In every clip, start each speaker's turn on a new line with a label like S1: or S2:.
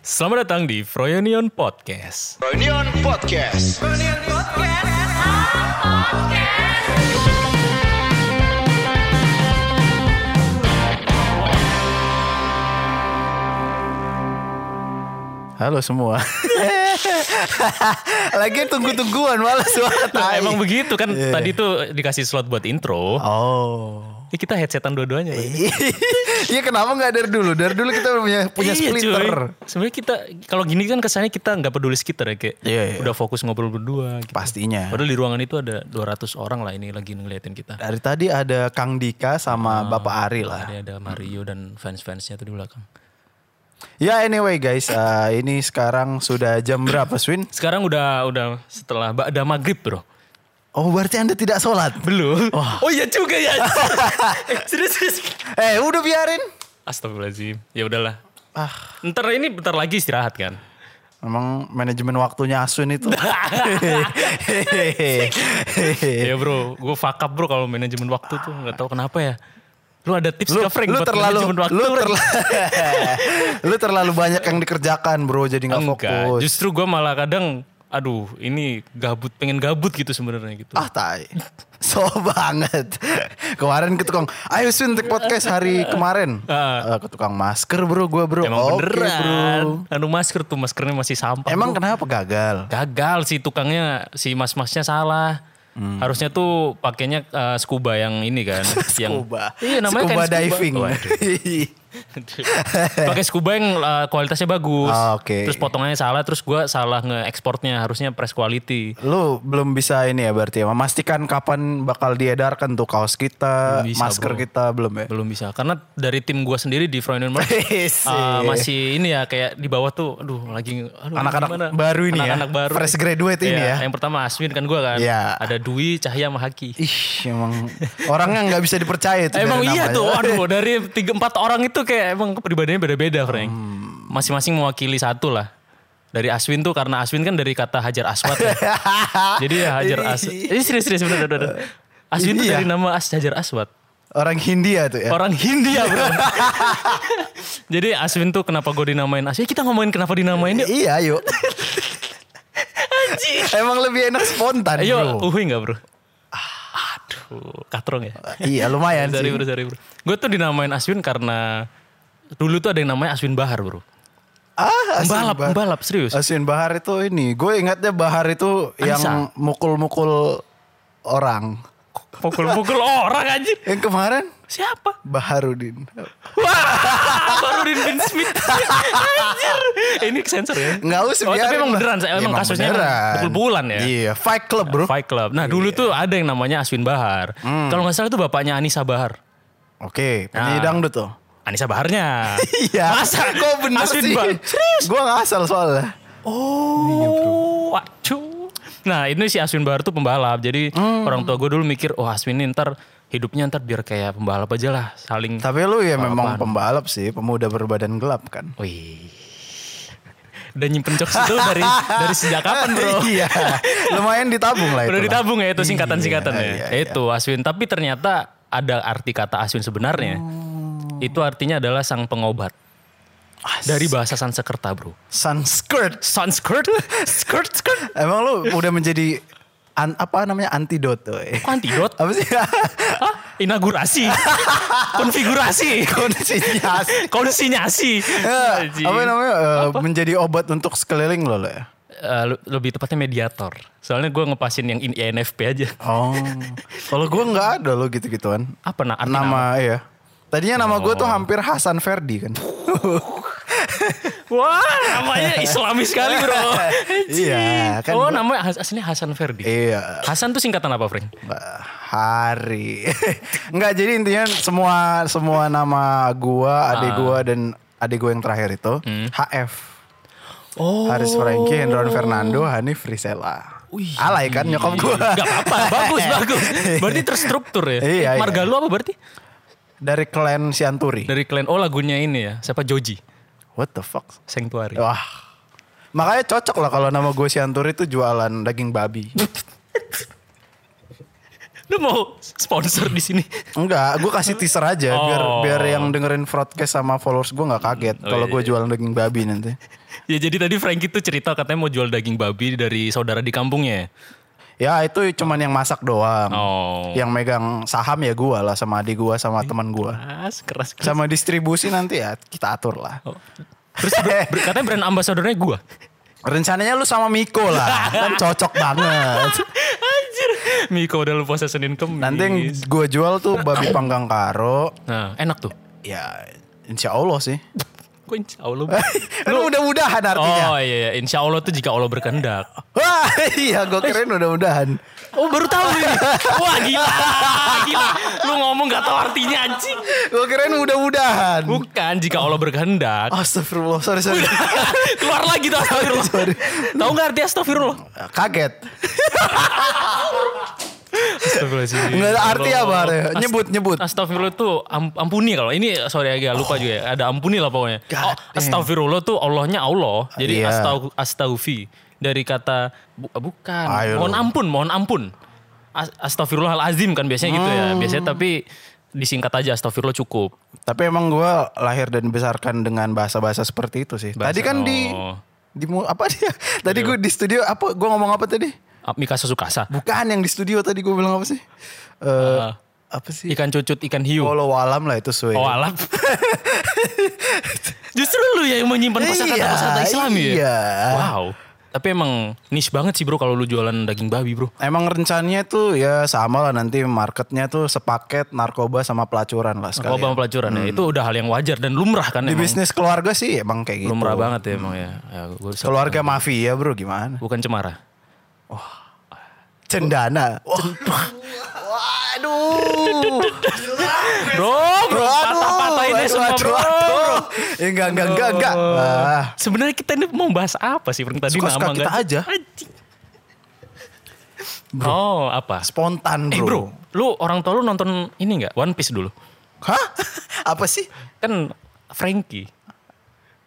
S1: Selamat datang di Froyonion Podcast.
S2: Reunion Podcast.
S3: Halo semua. Lagi tunggu-tungguan malah suara
S1: Nah,
S3: tai.
S1: emang begitu kan
S3: Iya.
S1: tadi tuh dikasih slot buat intro.
S3: Oh.
S1: Ya, kita headsetan dua-duanya. ya.
S3: Iya kenapa nggak dari dulu? Dari dulu kita punya punya
S1: Iya, cuy.
S3: splitter.
S1: Sebenarnya kita kalau gini kan kesannya kita nggak peduli sekitar ya kayak
S3: Iya, iya.
S1: udah fokus ngobrol berdua. Gitu.
S3: Pastinya.
S1: Padahal di ruangan itu ada 200 orang lah ini lagi ngeliatin kita.
S3: Dari tadi ada Kang Dika sama Bapak Ari lah.
S1: Ada ada Mario dan fans-fansnya tuh di belakang.
S3: Ya anyway guys, eh, ini sekarang sudah jam berapa Swin?
S1: Sekarang udah udah setelah ba- ada maghrib bro.
S3: Oh berarti anda tidak sholat?
S1: Belum. Oh iya juga ya. Eh, serius, serius.
S3: Eh udah biarin.
S1: Astagfirullahaladzim. Ya udahlah.
S3: Ah,
S1: Ntar ini bentar lagi istirahat kan.
S3: emang manajemen waktunya Aswin itu. Iya,
S1: Ya bro, gue fuck up bro kalau manajemen waktu tuh nggak tahu kenapa ya. Lu ada tips
S3: lu,
S1: nggak, Frank
S3: lu
S1: buat
S3: terlalu
S1: manajemen waktu?
S3: lu,
S1: Frank?
S3: terla- lu terlalu banyak yang dikerjakan bro jadi nggak
S1: Enggak,
S3: fokus
S1: justru gue malah kadang, aduh ini gabut, pengen gabut gitu sebenarnya gitu.
S3: ah tai so banget kemarin ke tukang ayo Swin take podcast hari kemarin Eh, ke tukang masker bro gua bro
S1: Ah. Emang
S3: Oke,
S1: beneran.
S3: bro
S1: Anu masker tuh, maskernya masih sampah. bro.
S3: emang kenapa gagal
S1: gagal si tukangnya, si mas-masnya salah.
S3: Hmm.
S1: Harusnya tuh pakainya eh, scuba yang ini kan. yang,
S3: scuba
S1: Iya namanya
S3: scuba
S1: kan scuba.
S3: diving
S1: Waduh. pakai scuba yang uh, kualitasnya bagus.
S3: Ah, oke.
S1: Terus potongannya salah, terus gua salah nge-eksportnya harusnya press quality.
S3: lu belum bisa ini ya berarti ya memastikan kapan bakal diedarkan tuh kaos kita
S1: Belum bisa,
S3: masker
S1: bro.
S3: kita belum ya
S1: Belum bisa karena dari tim gua sendiri di Freudian Mall
S3: Isi.
S1: uh, masih ini ya kayak di bawah tuh aduh lagi aduh,
S3: Anak-anak
S1: gimana?
S3: baru ini ya,
S1: Anak-anak baru.
S3: fresh graduate ini
S1: Iya,
S3: ya.
S1: Yang pertama Aswin kan gua kan.
S3: Iya.
S1: Ada Dwi, Cahya sama Haki.
S3: Ih, emang orangnya nggak bisa dipercaya itu. dari
S1: Emang iya
S3: namanya.
S1: tuh, aduh dari tiga empat orang itu kayak emang kepribadiannya beda-beda, Frank.
S3: Hmm.
S1: Masing-masing mewakili satu lah. Dari Aswin tuh karena Aswin kan dari kata hajar aswat. ya. Jadi ya hajar aswat. Ini serius-serius bener bener. Aswin tuh
S3: Iya.
S1: dari nama as hajar aswat.
S3: Orang Hindia tuh ya.
S1: Orang Hindia bro. Jadi Aswin tuh kenapa gue dinamain Aswin? Ya, Kita ngomongin kenapa dinamain dia.
S3: Iya, yuk. Emang lebih enak spontan,
S1: Ayo,
S3: Iya, bro. Ah.
S1: uhui nggak bro? Aduh, katrong ya.
S3: Iya, lumayan
S1: Sorry
S3: sih.
S1: bro, sorry bro. Gue tuh dinamain Aswin karena dulu tuh ada yang namanya Aswin Bahar bro.
S3: Ah, Aswin
S1: Pembalap,
S3: Bahar.
S1: pembalap serius.
S3: Aswin Bahar itu ini. Gue ingatnya Bahar itu
S1: Anissa.
S3: yang mukul-mukul orang.
S1: Pukul-pukul orang anjir.
S3: Yang kemarin
S1: Siapa?
S3: Baharudin.
S1: Wah, baru Din Bin Smith. anjir. Eh, ini sensor ya?
S3: Nggak usah
S1: Oh, tapi
S3: biarin
S1: emang
S3: lah.
S1: beneran. saya-
S3: Ya,
S1: Emang kasusnya emang
S3: beneran.
S1: pukul-pukulan ya?
S3: Iya, Fight Club, bro.
S1: Fight Club. Hmm. Nah dulu tuh ada yang namanya Aswin Bahar. Kalau nggak salah itu bapaknya Anissa Bahar.
S3: Oke,
S1: Nah.
S3: penyanyi dangdut tuh.
S1: Anissa Baharnya.
S3: Iya.
S1: Masa
S3: kok bener
S1: Aswin
S3: sih?
S1: Bahar. Serius?
S3: Gue gak asal soalnya.
S1: Oh, waduh. Nah ini si Aswin Bahar tuh pembalap. Jadi orang tua gue dulu mikir, oh Aswin ini ntar hidupnya ntar biar kayak pembalap aja lah. Saling.
S3: Tapi lu ya memang pembalap sih, pemuda berbadan gelap kan.
S1: Wih. Udah nyimpen jokes itu dari dari sejak kapan bro?
S3: iya, lumayan ditabung lah Nah, itu. kan.
S1: Udah
S3: lah.
S1: ditabung ya itu singkatan-singkatan
S3: Iya,
S1: ya.
S3: iya,
S1: Itu Aswin. Tapi ternyata ada arti kata Aswin sebenarnya.
S3: Oh.
S1: Itu artinya adalah sang pengobat. Dari bahasa Sansekerta bro.
S3: Sunskirt.
S1: Sanskrit? Skirt, skirt.
S3: Emang lu udah menjadi an- apa namanya antidot tuh.
S1: Kok antidot?
S3: Apa sih?
S1: Hah? Inaugurasi? Konfigurasi?
S3: Konsinyasi.
S1: Konsinyasi?
S3: Eh,
S1: Anjing.
S3: apa namanya? eh, menjadi obat untuk sekeliling lo lo ya.
S1: Eh, le- lebih tepatnya mediator. Soalnya gue ngepasin yang ya, in- INFP aja.
S3: Oh. Kalau gue nggak ada lo gitu-gituan.
S1: Apa nah, arti nama? Oh.
S3: Nama ya. Tadinya nama gue tuh hampir Hasan Ferdi kan.
S1: Wah, namanya islami sekali bro.
S3: Iya, kan
S1: oh,
S3: gua-
S1: namanya Has- aslinya Hasan Ferdi.
S3: Iya.
S1: Hasan tuh singkatan apa, Frank?
S3: hari nggak jadi intinya semua semua nama gua adik
S1: Ah.
S3: gua dan adik gua yang terakhir itu HF
S1: Hmm. Oh.
S3: Haris Franky Hendron Fernando Hanif Rizela alay kan nyokap gua
S1: Gak apa-apa, bagus, bagus. Berarti terstruktur ya.
S3: Iya, iya.
S1: Marga lu apa berarti?
S3: dari klan Sianturi
S1: Dari klan, oh lagunya ini ya. Siapa? Joji.
S3: what the fuck
S1: Sanctuary.
S3: wah makanya cocok lah kalau nama gue Sianturi itu jualan daging babi
S1: Lu mau sponsor di sini?
S3: Enggak, gue kasih teaser aja biar
S1: Oh. iya,
S3: biar yang dengerin broadcast sama followers gue nggak kaget kalau gue jualan daging babi nanti.
S1: Ya jadi tadi Frank itu cerita katanya mau jual daging babi dari saudara di kampungnya.
S3: Ya itu cuman yang masak doang.
S1: Oh.
S3: Yang megang saham ya gua lah sama adik gua sama teman gua.
S1: Keras, keras, keras.
S3: Sama distribusi nanti ya kita atur lah.
S1: Oh. Terus ber- ber- katanya brand ambassadornya gue.
S3: Rencananya lu sama Miko lah. kan cocok banget.
S1: Anjir. Miko udah lupa Senin kemis.
S3: Nanti yang gua jual tuh babi panggang karo.
S1: Nah, enak tuh.
S3: Ya insya Allah sih.
S1: Gue insya Allah. Bu.
S3: Kan mudah-mudahan artinya.
S1: Oh iya, iya. insya Allah tuh jika Allah berkehendak.
S3: Wah iya gue keren mudah-mudahan.
S1: Oh baru tahu ini. Wah gila, gila. Lu ngomong gak tahu artinya anjing.
S3: Gue keren mudah-mudahan.
S1: Bukan jika Allah berkehendak.
S3: Astagfirullah sorry sorry.
S1: Keluar lagi tuh astagfirullah.
S3: Sorry.
S1: tahu gak arti astagfirullah?
S3: Kaget.
S1: Astagfirullah sih.
S3: Nggak ada arti apa? Reh? Nyebut nyebut.
S1: Astagfirullah tuh am- ampuni kalau ini sorry agak lupa juga ya. Ada ampuni lah pokoknya. Oh,
S3: God
S1: astagfirullah tuh Allahnya Allah. Jadi
S3: Iya.
S1: astau astaufi dari kata bu- bukan.
S3: Ayo.
S1: Mohon ampun, mohon ampun. As- Astagfirullahalazim kan biasanya gitu
S3: Hmm.
S1: ya. Biasanya tapi disingkat aja astagfirullah cukup.
S3: Tapi emang gue lahir dan dibesarkan dengan bahasa-bahasa seperti itu sih.
S1: Bahasa-
S3: tadi kan di
S1: oh. Iya.
S3: di mu- apa dia? Tadi gue di studio apa? Gue ngomong apa tadi?
S1: Ah, Mikasa Sukasa.
S3: Bukan yang di studio tadi gue bilang apa sih? Eh
S1: Ah.
S3: apa sih?
S1: Ikan cucut, ikan hiu.
S3: Walau alam lah itu suwe.
S1: Oh, alam. Justru lu ya yang menyimpan kosakata-kosakata
S3: Iya,
S1: Islam ya?
S3: iya.
S1: Wow. Tapi emang niche banget sih bro kalau lu jualan daging babi bro.
S3: Emang rencananya tuh ya sama lah nanti marketnya tuh sepaket narkoba sama pelacuran lah
S1: Kalau
S3: sekali.
S1: bang pelacuran ya itu udah hal yang wajar dan lumrah kan
S3: Hmm. Di
S1: emang.
S3: bisnis keluarga sih emang kayak gitu.
S1: Lumrah banget ya emang ya. ya gua bisa-
S3: Keluarga mafia bro gimana?
S1: Bukan cemara.
S3: Cendana. Wah. Waduh.
S1: Bro, bro, patah-patahin ya semua bro.
S3: Ya enggak enggak enggak enggak. Wah.
S1: Sebenarnya kita ini mau bahas apa sih? Bro? Tadi
S3: Suka-suka
S1: nama
S3: kita
S1: nggak-
S3: aja.
S1: Anjing. Oh apa?
S3: Spontan bro.
S1: Eh bro, lu orang tua lu nonton ini nggak One Piece dulu?
S3: Hah? Apa sih?
S1: Kan Frankie,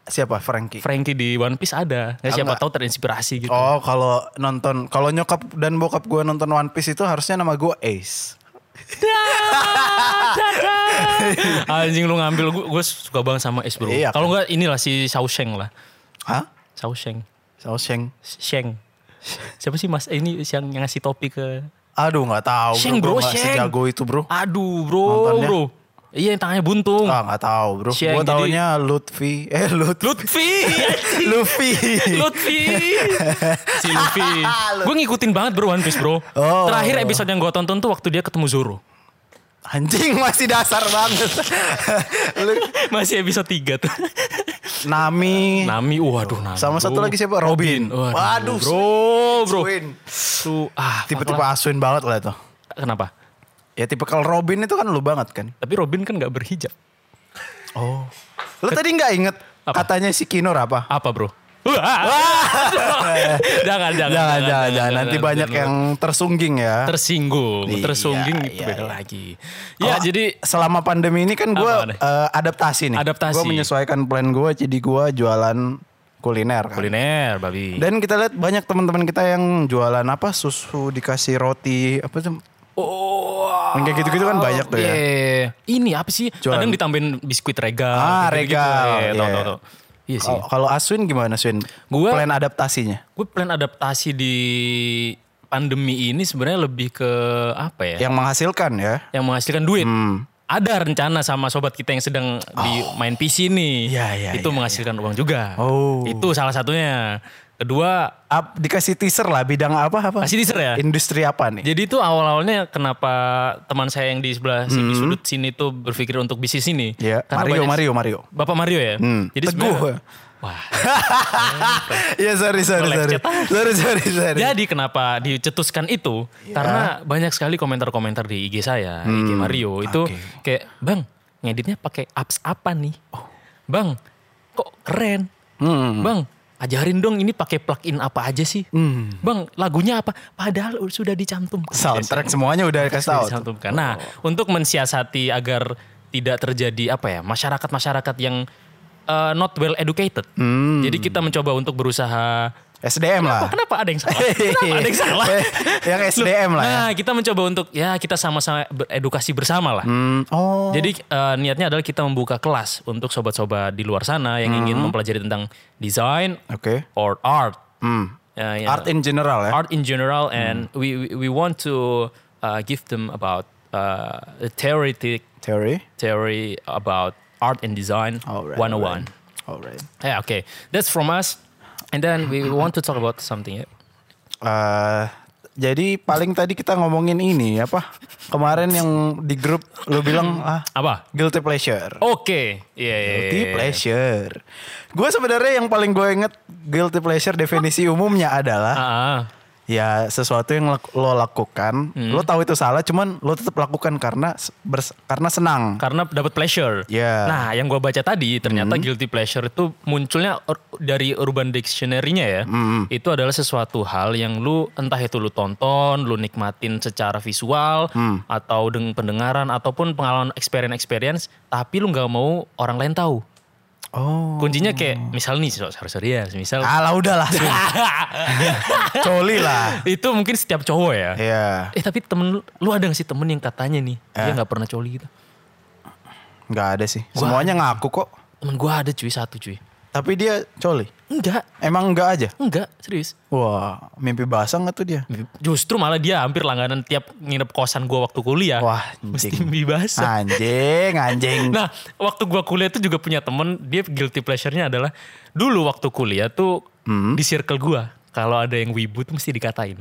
S3: Siapa Frankie?
S1: Frankie di One Piece ada. Ya,
S3: Ah,
S1: siapa
S3: nggak.
S1: tahu terinspirasi gitu.
S3: Oh kalau nonton kalau nyokap dan bokap gue nonton One Piece itu harusnya nama gue Ace.
S1: Anjing lu ngambil gue, suka banget sama es bro.
S3: Iya, kan?
S1: Kalau nggak inilah si Sausheng lah.
S3: Hah? Oh,
S1: Sausheng,
S3: Sauseng.
S1: Sheng. Siapa sih mas eh, ini yang yang ngasih topi ke?
S3: Aduh nggak tahu.
S1: Sheng bro,
S3: Gua Oh, nggak
S1: Sheng.
S3: Sejago itu bro.
S1: Aduh bro,
S3: Nontonnya.
S1: bro. Iya yang tangannya buntung.
S3: Ah nggak tahu bro.
S1: Sheng,
S3: Gue
S1: jadi-
S3: taunya Lutfi. Eh Lut.
S1: Lutfi,
S3: Luffy.
S1: Lutfi, si Lutfi. Gue ngikutin banget bro One Piece bro.
S3: Oh.
S1: Terakhir episode yang gue tonton tuh waktu dia ketemu Zoro.
S3: Anjing masih dasar banget. Lu-
S1: Masih episode 3 tuh.
S3: Nami.
S1: Nami, waduh Nami.
S3: Sama satu
S1: bro.
S3: lagi siapa? Robin.
S1: Waduh,
S3: Waduh,
S1: bro, bro.
S3: Swin.
S1: Su- ah,
S3: Tipe-tipe asuin banget lah itu.
S1: Kenapa?
S3: Ya tipe kalau Robin itu kan lu banget kan.
S1: Tapi Robin kan gak berhijab.
S3: Oh. Lu tadi nggak inget
S1: Apa?
S3: katanya si Kinor apa?
S1: Apa bro? Wah. jangan, jangan,
S3: Jangan, jangan, jangan. Nanti
S1: jangan,
S3: banyak
S1: jangan.
S3: yang tersungging ya.
S1: tersinggung,
S3: Iya,
S1: tersunggung itu
S3: iya,
S1: beda
S3: iya.
S1: lagi. Ya,
S3: Kalau
S1: jadi
S3: selama pandemi ini kan gue
S1: Apa nih?
S3: adaptasi nih.
S1: Adaptasi.
S3: Gue menyesuaikan plan gue jadi gue jualan kuliner kan.
S1: kuliner babi.
S3: Dan kita lihat banyak teman-teman kita yang jualan apa susu dikasih roti apa tuh
S1: oh.
S3: Yang kayak gitu-gitu kan banyak tuh ya.
S1: iya. Ini apa sih?
S3: Jualan.
S1: Kadang ditambahin biskuit regal.
S3: Ah,
S1: gitu-gitu.
S3: regal,
S1: Iya, tahu,
S3: iya.
S1: tahu, tahu. Iya sih.
S3: Kalau- Kalau Aswin gimana Swin?
S1: Gua-
S3: plan adaptasinya.
S1: Gue plan adaptasi di pandemi ini sebenarnya lebih ke apa ya?
S3: Yang menghasilkan ya.
S1: yang menghasilkan duit.
S3: Hmm.
S1: Ada rencana sama sobat kita yang sedang di main PC nih.
S3: Oh. Iya, iya,
S1: Itu menghasilkan uang juga.
S3: Oh.
S1: Itu salah satunya. Kedua,
S3: Ap- dikasih teaser lah bidang apa apa?
S1: kasih teaser ya.
S3: Industri apa nih?
S1: Jadi itu awal-awalnya kenapa teman saya yang di sebelah sini sudut sini tuh berpikir untuk bisnis ini. Karena
S3: Ya, Hmm. Mario,
S1: banyak-
S3: Mario, Mario.
S1: Bapak Mario ya.
S3: Hmm.
S1: Jadi
S3: Teguh.
S1: sebenarnya- Wah.
S3: ya sorry sorry
S1: Nge-live
S3: sorry.
S1: chat.
S3: Sorry sorry sorry.
S1: Jadi Iya. kenapa dicetuskan itu? Karena banyak sekali komentar-komentar di IG saya, IG Mario itu kayak, "Bang, ngeditnya pakai apps apa nih?" "Bang, kok keren?" "Bang, ajarin dong ini pakai plugin apa aja sih?" "Bang, lagunya apa?" Padahal Hmm. sudah dicantumkan.
S3: Soundtrack semuanya udah kasih tahu.
S1: Sudah dicantumkan. Nah, untuk mensiasati agar tidak terjadi apa ya eh, Hmm. masyarakat-masyarakat yang uh, not well educated. Jadi kita mencoba untuk berusaha
S3: SDM lah. Eh,
S1: Kenapa ada yang salah? Kenapa ada yang salah?
S3: Yang SDM lah ya.
S1: Nah, kita mencoba untuk ya kita sama-sama beredukasi bersama lah.
S3: Hmm, oh.
S1: Jadi eh, niatnya adalah kita membuka kelas untuk sobat-sobat di luar sana yang
S3: Hmm.
S1: ingin mempelajari tentang design
S3: Oke.
S1: or art.
S3: Hmm.
S1: Ya, ya.
S3: Art in general ya.
S1: Art in general and we, we we want to uh, give them about uh, the theoretic
S3: Theory.
S1: theory about art and design
S3: Alright,
S1: 101.
S3: Alright.
S1: Yeah, okay. That's from us. And then we want to talk about something. Yeah.
S3: Eh, jadi paling tadi kita ngomongin ini apa kemarin yang di grup lu bilang ah
S1: Apa?
S3: guilty pleasure.
S1: Oke. Iya, iya,
S3: Guilty
S1: iya.
S3: pleasure. Gue sebenarnya yang paling gue inget guilty pleasure definisi umumnya adalah
S1: Ah,
S3: ya sesuatu yang lak- lo lakukan, lo tahu itu salah, cuman lo tetap lakukan karena s- bers- karena senang.
S1: karena dapat pleasure.
S3: Iya.
S1: Nah, yang gua baca tadi ternyata guilty pleasure itu munculnya ur- dari Urban Dictionary-nya ya. Itu adalah sesuatu hal yang lu entah itu lu tonton, lu nikmatin secara visual atau dengan pendengaran ataupun pengalaman experience-experience, tapi lu nggak mau orang lain tahu.
S3: Oh,
S1: Kuncinya kayak misal nih, sorry-sorry ya, misal
S3: alah udahlah, Sun. coli lah.
S1: itu mungkin setiap cowok ya.
S3: Ya,
S1: Eh tapi temen lu, lu ada gak sih temen yang katanya nih dia nggak pernah coli gitu?
S3: nggak ada sih. Semuanya ngaku kok.
S1: Temen gue ada cuy satu cuy.
S3: Tapi dia coli.
S1: Enggak,
S3: Emang nggak aja?
S1: enggak serius.
S3: Wah, mimpi basah nggak tuh dia?
S1: Justru malah dia hampir langganan tiap nginep kosan gue waktu kuliah.
S3: Wah,
S1: mesti
S3: anjing.
S1: mimpi basah.
S3: Anjing, anjing.
S1: Nah, waktu gua kuliah tuh juga punya temen, dia guilty pleasure-nya adalah dulu waktu kuliah tuh
S3: Hmm?
S1: di circle gua kalau ada yang wibu tuh mesti dikatain.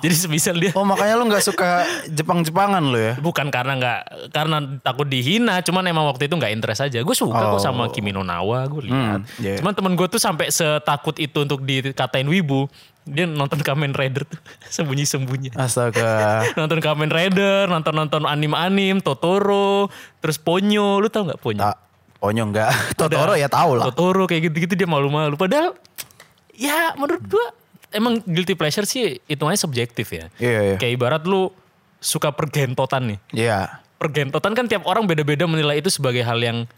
S1: Jadi semisal dia
S3: Oh makanya lu nggak suka Jepang-Jepangan lu ya?
S1: Bukan karena nggak karena takut dihina, cuman emang waktu itu nggak interest aja. Gue suka kok
S3: Oh.
S1: sama Kimi no Nawa, gue lihat.
S3: Hmm, iya.
S1: Cuman temen gue tuh sampai setakut itu untuk dikatain wibu, dia nonton Kamen Rider tuh sembunyi-sembunyi.
S3: Astaga.
S1: nonton Kamen Rider, nonton-nonton anim-anim, Totoro, terus Ponyo, lu tau nggak Ponyo?
S3: Tak, onyo enggak. Totoro ya tahu lah.
S1: Totoro kayak gitu-gitu dia malu-malu. Padahal ya menurut gua emang guilty pleasure sih hitungannya subjektif ya.
S3: Iya, iya.
S1: Kayak ibarat lu suka pergentotan nih.
S3: Iya.
S1: Pergentotan kan tiap orang beda-beda menilai itu sebagai hal yang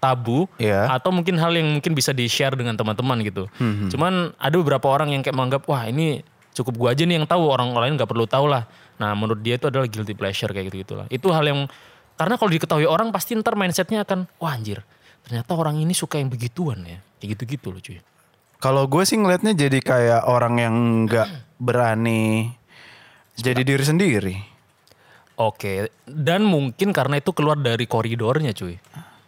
S1: tabu
S3: Iya.
S1: atau mungkin hal yang mungkin bisa di-share dengan teman-teman gitu. Cuman ada beberapa orang yang kayak menganggap wah ini cukup gua aja nih yang tahu orang lain nggak perlu tahu lah. Nah, menurut dia itu adalah guilty pleasure kayak gitu-gitu lah. Itu hal yang karena kalau diketahui orang pasti ntar mindsetnya akan wah anjir. Ternyata orang ini suka yang begituan ya. Kayak gitu-gitu loh cuy.
S3: Kalau gue sih ngelihatnya jadi kayak orang yang nggak berani jadi diri sendiri.
S1: Oke, dan mungkin karena itu keluar dari koridornya cuy.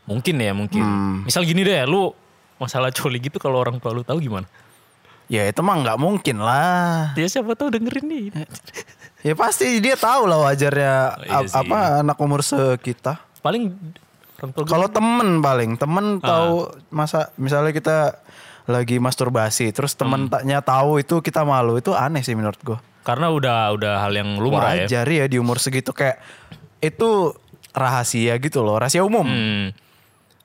S1: Mungkin ya, mungkin.
S3: Hmm.
S1: Misal gini deh, lu masalah coli gitu kalau orang tua lu tahu gimana?
S3: Ya itu mah nggak mungkin lah.
S1: Dia siapa tahu dengerin nih.
S3: Ya pasti dia tahu lah wajarnya
S1: iya
S3: a-
S1: sih.
S3: apa anak umur sekita.
S1: Paling orang tua gua-
S3: Kalau temen paling temen
S1: Ah.
S3: tahu masa misalnya kita lagi masturbasi terus
S1: Hmm.
S3: temen taknya tahu itu kita malu itu aneh sih menurut gue.
S1: karena udah udah hal yang lumrah ya.
S3: Wajar ya di umur segitu kayak itu rahasia gitu loh rahasia umum.
S1: Hmm.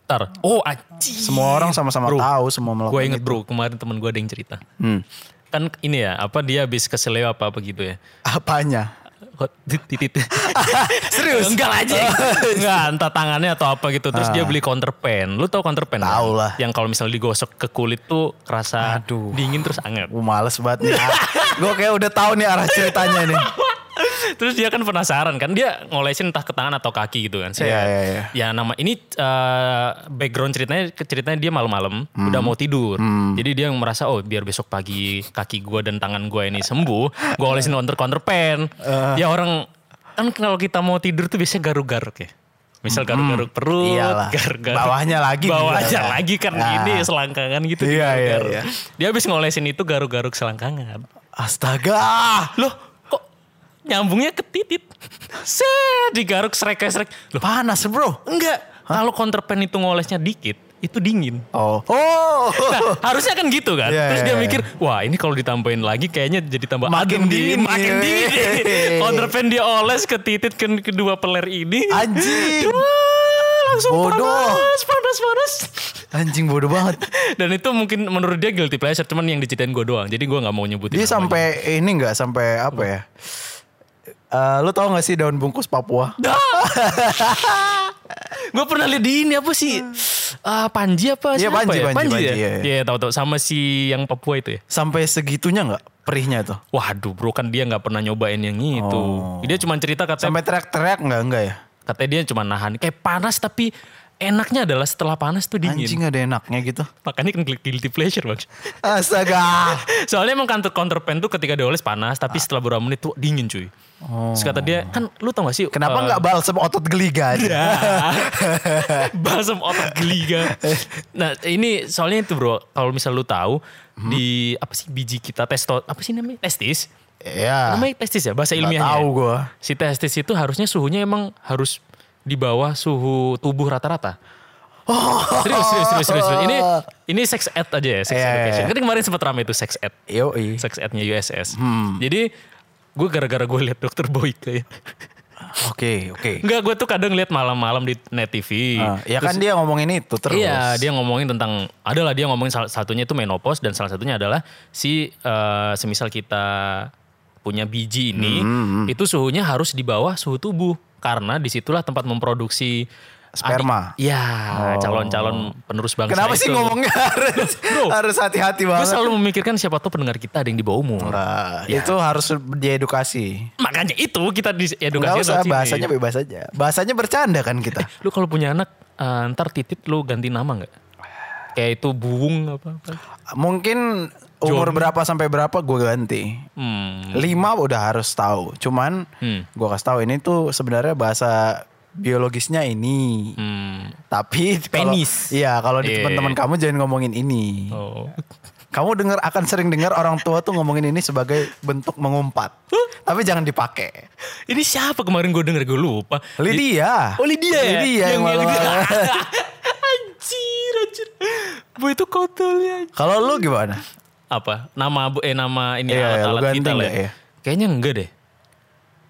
S1: Ntar. Oh, anjing.
S3: Semua gitu. orang sama-sama
S1: iya. Bro,
S3: tahu semua
S1: Gue
S3: melakukan.
S1: inget bro, kemarin temen gue ada yang cerita.
S3: Hmm.
S1: Kan ini ya, apa dia habis keseleo apa apa gitu ya.
S3: Apanya?
S1: Hot, tit, tit, tit. Serius? Enggak lah aja. Enggak, entah tangannya atau apa gitu. Terus
S3: Ah.
S1: dia beli counter pen. Lu tau counter pen? kan?
S3: Tahu lah.
S1: Yang kalau misalnya digosok ke kulit tuh kerasa
S3: Aduh.
S1: dingin terus anget.
S3: Gue males banget nih. gue kayak udah tahu nih arah ceritanya nih.
S1: Terus dia kan penasaran kan dia ngolesin entah ke tangan atau kaki gitu kan.
S3: Iya, iya, iya.
S1: Ya nama ini eh, background ceritanya ceritanya dia malam-malam
S3: Hmm.
S1: udah mau tidur. Jadi dia merasa oh biar besok pagi kaki gua dan tangan gua ini sembuh, gua olesin counter counter pen.
S3: Eh.
S1: Ya orang kan kalau kita mau tidur tuh biasanya garuk-garuk ya. Misal garuk-garuk perut,
S3: Hmm. Iyalah.
S1: garuk-garuk
S3: Bawahnya lagi
S1: Bawahnya
S3: juga kan.
S1: lagi kan
S3: Ah.
S1: gini selangkangan gitu
S3: Iya, iya,
S1: digaruk-garuk.
S3: iya.
S1: Dia habis ngolesin itu garuk-garuk selangkangan.
S3: Astaga.
S1: Loh kok nyambungnya ke titit? Set digaruk srek-srek. Loh
S3: Panas bro.
S1: enggak. Kalau counterpen itu ngolesnya dikit, itu dingin.
S3: Oh. Oh.
S1: Nah, harusnya kan gitu kan.
S3: Iya,
S1: Terus
S3: iya,
S1: dia
S3: iya.
S1: mikir, wah ini kalau ditambahin lagi kayaknya jadi tambah
S3: Makin
S1: adem nih,
S3: dingin
S1: makin
S3: nih.
S1: dingin. nih. Counterpen dia oles ke titit ke kedua peler ini.
S3: Anjing.
S1: Wah, langsung
S3: Bodoh.
S1: panas, panas, panas.
S3: Anjing bodoh banget.
S1: Dan itu mungkin menurut dia guilty pleasure, cuman yang diceritain gue doang. Jadi gue nggak mau nyebutin.
S3: Dia
S1: namanya.
S3: sampai ini nggak sampai apa ya? Eh, lu tau gak sih daun bungkus Papua?
S1: gue pernah lihat di ini apa sih? ah, Panji apa
S3: Hmm. Iya,
S1: siapa
S3: Panji,
S1: ya? ya?
S3: Panji, Panji, iya, iya.
S1: Iya, tahu-tahu sama si yang Papua itu ya.
S3: Sampai segitunya nggak perihnya tuh?
S1: Waduh bro kan dia nggak pernah nyobain yang itu.
S3: Oh.
S1: Dia cuma cerita katanya,
S3: Sampai teriak-teriak nggak nggak ya?
S1: katanya dia cuma nahan. Kayak panas tapi enaknya adalah setelah panas tuh dingin.
S3: Anjing ada enaknya gitu.
S1: Makanya kan guilty pleasure bang.
S3: Astaga.
S1: Soalnya emang counter counter pen tuh ketika dioles panas tapi setelah beberapa menit tuh dingin cuy. Terus kata dia kan lu tau gak sih
S3: Oh. Kenapa nggak balsem otot geliga
S1: Iya.
S3: aja?
S1: balsam otak geliga. Nah ini soalnya itu bro, kalau misal lu tahu
S3: Hmm?
S1: di apa sih biji kita testo apa sih namanya testis?
S3: Iya.
S1: Namanya testis ya bahasa
S3: Nggak
S1: ilmiahnya. ya?
S3: tahu gua.
S1: Si testis itu harusnya suhunya emang harus di bawah suhu tubuh rata-rata.
S3: Oh.
S1: Serius, serius, serius, serius, serius. Ini ini sex ed aja ya, sex
S3: Iya, iya,
S1: education.
S3: iya.
S1: Kan kemarin sempat rame itu sex ed.
S3: Yo
S1: Sex ed-nya USS.
S3: Hmm.
S1: Jadi gue gara-gara gue liat dokter Boyke ya.
S3: Oke oke.
S1: Enggak, gue tuh kadang liat malam-malam di net TV.
S3: Ah, Ya kan dia ngomongin itu terus.
S1: Iya, dia ngomongin tentang adalah dia ngomongin salah satunya itu menopause dan salah satunya adalah si eh, semisal kita punya biji
S3: Hmm,
S1: ini itu suhunya harus di bawah suhu tubuh karena disitulah tempat memproduksi
S3: Sperma. Oh.
S1: adik- Iya, calon-calon penerus bangsa.
S3: Kenapa sih
S1: itu.
S3: ngomongnya harus
S1: Bro.
S3: harus hati-hati
S1: Gue
S3: banget?
S1: selalu memikirkan siapa tuh pendengar kita ada yang di bawah umur.
S3: Nah,
S1: Ya.
S3: Itu harus diedukasi.
S1: Makanya itu kita di
S3: Enggak
S1: edukasi
S3: usah bahasanya bebas aja. Bahasanya bercanda kan kita.
S1: Lu kalau punya anak eh, ntar titit lu ganti nama nggak? Kayak itu buung apa apa.
S3: Mungkin umur berapa sampai berapa gue ganti.
S1: Hmm.
S3: Lima udah harus tahu. Cuman gue kasih tahu ini tuh sebenarnya bahasa biologisnya ini.
S1: Hmm.
S3: Tapi kalau-
S1: Penis.
S3: Iya kalau di
S1: Iya.
S3: teman-teman kamu jangan ngomongin ini.
S1: Oh.
S3: Kamu dengar akan sering dengar orang tua tuh ngomongin ini sebagai bentuk mengumpat. Tapi jangan dipakai.
S1: Ini siapa kemarin gue denger gue lupa.
S3: Lydia.
S1: Oh Lydia ya?
S3: Lydia yang malam-malam.
S1: anjir, anjir. Bu itu kotelnya.
S3: Kalau lu gimana?
S1: Apa? Nama bu eh nama ini
S3: Iya, lu
S1: alat-alat
S3: ganti
S1: kita lah.
S3: nggak
S1: ya.
S3: ya?
S1: Kayaknya enggak deh.